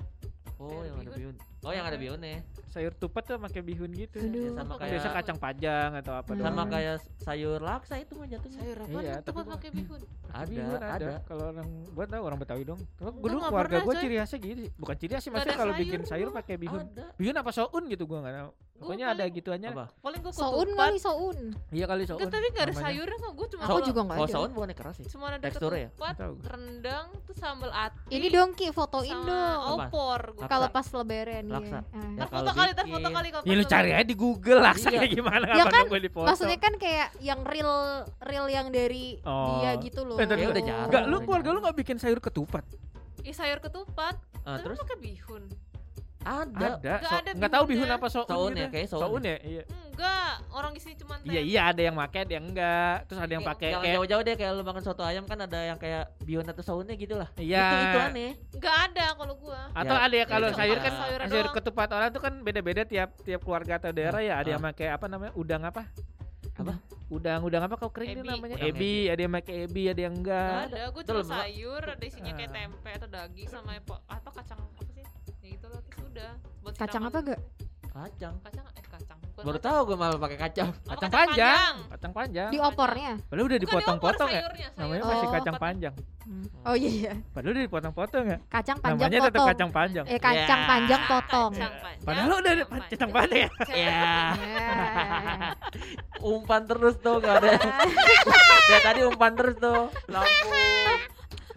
[SPEAKER 3] Oh,
[SPEAKER 1] Sayur
[SPEAKER 3] yang ada
[SPEAKER 1] bihun.
[SPEAKER 3] bihun. Oh, yang ada bihunnya.
[SPEAKER 4] Sayur tupat tuh pakai bihun gitu
[SPEAKER 2] Aduh.
[SPEAKER 3] Ya, sama kayak
[SPEAKER 4] Biasa kacang panjang atau apa
[SPEAKER 2] Hmm.
[SPEAKER 4] doang.
[SPEAKER 3] sama kayak sayur laksa itu mah jatuhnya.
[SPEAKER 1] Sayur apa?
[SPEAKER 4] Iya,
[SPEAKER 1] Iya,
[SPEAKER 4] tapi
[SPEAKER 1] Tempat
[SPEAKER 4] gua-
[SPEAKER 1] pakai bihun.
[SPEAKER 3] Ada,
[SPEAKER 4] Bihun
[SPEAKER 3] ada.
[SPEAKER 4] Kalau orang gua tahu orang Betawi dong. Kalau
[SPEAKER 1] Gua
[SPEAKER 4] gua dulu
[SPEAKER 1] nggak
[SPEAKER 4] keluarga
[SPEAKER 1] pernah,
[SPEAKER 4] gua
[SPEAKER 1] coy.
[SPEAKER 4] ciri khasnya gini, bukan ciri khasnya
[SPEAKER 1] Nggak
[SPEAKER 4] maksudnya
[SPEAKER 1] ada
[SPEAKER 4] kalau bikin
[SPEAKER 1] sayur
[SPEAKER 4] sayur
[SPEAKER 1] gua.
[SPEAKER 4] pakai bihun.
[SPEAKER 3] Ada.
[SPEAKER 4] Bihun apa soun gitu gua nggak tahu.
[SPEAKER 1] Gua
[SPEAKER 4] Pokoknya ada gitu
[SPEAKER 1] paling-
[SPEAKER 4] gituannya.
[SPEAKER 3] Apa?
[SPEAKER 1] Paling gue
[SPEAKER 2] Soun
[SPEAKER 1] ketupat.
[SPEAKER 2] kali soun.
[SPEAKER 4] Iya kali soun.
[SPEAKER 1] Nggak, tapi gak ada
[SPEAKER 4] namanya.
[SPEAKER 1] sayurnya kok gue cuma
[SPEAKER 2] Aku
[SPEAKER 1] kalau-
[SPEAKER 2] juga nggak
[SPEAKER 3] Oh,
[SPEAKER 2] ada.
[SPEAKER 3] sawan bukannya keras ya?
[SPEAKER 1] cuma ada
[SPEAKER 3] Teksturnya ya?
[SPEAKER 1] ketupat,
[SPEAKER 4] Tahu.
[SPEAKER 1] rendang, tuh sambal ati.
[SPEAKER 2] Ini dong Ki fotoin
[SPEAKER 1] sama
[SPEAKER 2] dong.
[SPEAKER 3] Apa?
[SPEAKER 1] opor gue.
[SPEAKER 3] Laksa.
[SPEAKER 2] Kalau pas lebaran
[SPEAKER 3] Laksa.
[SPEAKER 2] ya. Ah.
[SPEAKER 3] Ya,
[SPEAKER 1] Ntar foto
[SPEAKER 3] kalau
[SPEAKER 1] kali, ntar
[SPEAKER 3] bikin.
[SPEAKER 1] foto kali kalau
[SPEAKER 4] Ya lu
[SPEAKER 1] pas
[SPEAKER 4] cari
[SPEAKER 1] lebaran.
[SPEAKER 4] aja di Google lah
[SPEAKER 3] Iya.
[SPEAKER 4] kayak gdipoto.
[SPEAKER 2] Ya kan,
[SPEAKER 4] gua dipoto.
[SPEAKER 2] Maksudnya kan kayak yang real real yang dari
[SPEAKER 4] Oh.
[SPEAKER 2] dia gitu loh.
[SPEAKER 4] Eh,
[SPEAKER 3] Ya
[SPEAKER 4] tapi
[SPEAKER 3] udah jarang.
[SPEAKER 4] Enggak, lu keluarga lu nggak bikin sayur ketupat?
[SPEAKER 1] Ih, sayur ketupat,
[SPEAKER 3] Ah,
[SPEAKER 1] terus
[SPEAKER 3] terus
[SPEAKER 1] pakai bihun.
[SPEAKER 3] ada.
[SPEAKER 4] Ada.
[SPEAKER 1] Nggak
[SPEAKER 4] so-
[SPEAKER 1] ada
[SPEAKER 4] Nggak tahu
[SPEAKER 1] bihunnya.
[SPEAKER 4] bihun apa soun
[SPEAKER 3] Soun
[SPEAKER 4] gitu.
[SPEAKER 3] ya, kayaknya soun.
[SPEAKER 4] Soun ya, iya.
[SPEAKER 1] Hmm, enggak orang di sini cuma
[SPEAKER 4] Iya iya ada yang pakai ada yang enggak. Terus ada yang
[SPEAKER 1] Oke,
[SPEAKER 4] pakai
[SPEAKER 3] Iya, Jangan
[SPEAKER 4] kayak
[SPEAKER 3] jauh-jauh deh kayak lu makan soto ayam kan ada yang kayak bihun atau saunnya gitu lah.
[SPEAKER 4] iya.
[SPEAKER 3] Itu itu aneh.
[SPEAKER 1] enggak ada kalau gua
[SPEAKER 4] Atau
[SPEAKER 3] Ya,
[SPEAKER 4] ada yang kalau
[SPEAKER 3] ya,
[SPEAKER 4] sayur kan
[SPEAKER 3] sayur
[SPEAKER 4] sayur
[SPEAKER 1] doang.
[SPEAKER 4] ketupat orang tuh kan beda-beda tiap tiap keluarga atau daerah ya. Ada yang pakai apa namanya? Udang apa?
[SPEAKER 3] Apa?
[SPEAKER 4] Udang udang apa kau kering itu
[SPEAKER 1] Ebi.
[SPEAKER 4] namanya?
[SPEAKER 3] Udang
[SPEAKER 4] Ebi, ada yang pakai ebi, ada yang
[SPEAKER 1] enggak
[SPEAKER 4] enggak.
[SPEAKER 1] ada gua
[SPEAKER 3] Itu
[SPEAKER 1] cuma
[SPEAKER 3] lemak.
[SPEAKER 1] sayur ada isinya kayak
[SPEAKER 4] Ah.
[SPEAKER 1] tempe atau daging sama apa atau kacang apa sih ya gitu loh terus udah buat
[SPEAKER 2] Kacang
[SPEAKER 1] siraman.
[SPEAKER 2] apa enggak?
[SPEAKER 3] Kacang.
[SPEAKER 1] kacang eh kacang bukan
[SPEAKER 3] Baru tahu gue malah pakai kacang.
[SPEAKER 1] Apa
[SPEAKER 4] Kacang panjang. Kacang panjang.
[SPEAKER 2] Di opornya.
[SPEAKER 4] Padahal udah
[SPEAKER 1] Bukan
[SPEAKER 4] dipotong-potong
[SPEAKER 1] diopor,
[SPEAKER 4] ya.
[SPEAKER 1] sayurnya,
[SPEAKER 4] Namanya
[SPEAKER 1] sayur.
[SPEAKER 4] masih
[SPEAKER 2] Oh.
[SPEAKER 4] kacang panjang.
[SPEAKER 2] Oh iya iya.
[SPEAKER 4] Padahal udah dipotong-potong ya.
[SPEAKER 2] Kacang panjang
[SPEAKER 4] Hmm. Namanya tetap
[SPEAKER 2] potong.
[SPEAKER 4] kacang panjang.
[SPEAKER 2] Eh kacang
[SPEAKER 3] Ya.
[SPEAKER 2] panjang potong.
[SPEAKER 1] kacang panjang
[SPEAKER 4] Padahal udah ada kacang panjang ya.
[SPEAKER 3] Ya,
[SPEAKER 2] Ya, ya, ya.
[SPEAKER 3] umpan terus tuh gak ada. Dari tadi umpan terus tuh. Lampu.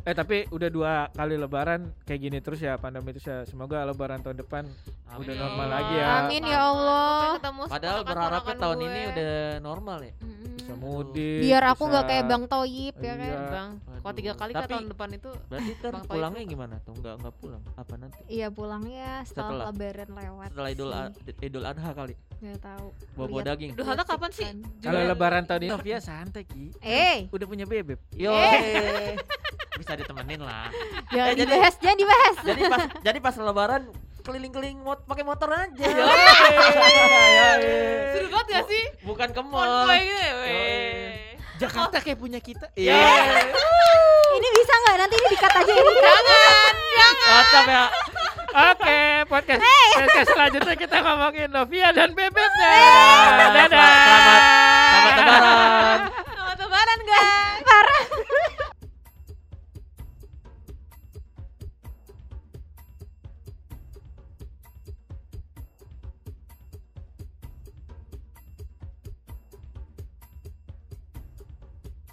[SPEAKER 4] Eh tapi udah dua kali lebaran kayak gini terus ya pandemi terus ya. Semoga lebaran tahun depan Udah
[SPEAKER 1] Ya
[SPEAKER 4] normal
[SPEAKER 1] Allah.
[SPEAKER 4] lagi ya.
[SPEAKER 2] Amin ya Allah.
[SPEAKER 1] Gue ketemu
[SPEAKER 3] Padahal
[SPEAKER 1] ponakan-ponakan
[SPEAKER 3] berharapnya tahun
[SPEAKER 1] gue.
[SPEAKER 3] ini udah normal ya.
[SPEAKER 2] Mm-mm.
[SPEAKER 4] bisa mudik.
[SPEAKER 2] Biar aku
[SPEAKER 4] bisa-
[SPEAKER 2] nggak kayak
[SPEAKER 3] eh,
[SPEAKER 2] Bang Toyib ya kan.
[SPEAKER 4] Iya.
[SPEAKER 1] Bang, kok tiga
[SPEAKER 3] Aduh,
[SPEAKER 1] kali kah
[SPEAKER 3] tapi-
[SPEAKER 1] tahun depan itu
[SPEAKER 3] Berarti ntar
[SPEAKER 1] Bang Toib
[SPEAKER 3] pulangnya
[SPEAKER 1] lupa.
[SPEAKER 3] gimana tuh? Enggak enggak pulang. Apa nanti?
[SPEAKER 2] Iya pulangnya
[SPEAKER 3] Setelah.
[SPEAKER 2] setelah, lebaran lewat.
[SPEAKER 3] Setelah Idul A- Idul Adha kali.
[SPEAKER 2] Gak tahu.
[SPEAKER 3] Bawa-bawa
[SPEAKER 2] Lihat.
[SPEAKER 3] daging.
[SPEAKER 1] Duh, Hatta kapan sih?
[SPEAKER 2] Kan.
[SPEAKER 4] Kalau
[SPEAKER 1] Juli.
[SPEAKER 4] lebaran tahun ini Novia Iya. santai Ki. Eh.
[SPEAKER 2] Eh,
[SPEAKER 4] Udah punya bebek.
[SPEAKER 3] Yo. Bisa ditemenin lah.
[SPEAKER 2] jangan
[SPEAKER 3] Eh, jadi-
[SPEAKER 2] dibahas, jangan dibahas.
[SPEAKER 3] jadi pas jadi pas lebaran keliling-keliling mot pakai motor aja.
[SPEAKER 1] Seru banget gak sih?
[SPEAKER 3] Bukan ke mall.
[SPEAKER 1] Konvoy gitu ya,
[SPEAKER 3] Yoi.
[SPEAKER 1] weh.
[SPEAKER 4] Jakarta kayak punya kita.
[SPEAKER 3] Iya.
[SPEAKER 2] Ini bisa nggak? Nanti ini dikat aja ya. ini. Jangan.
[SPEAKER 3] Kocak ya.
[SPEAKER 4] Oke, podcast podcast selanjutnya kita ngomongin Novia dan bebeknya. Dan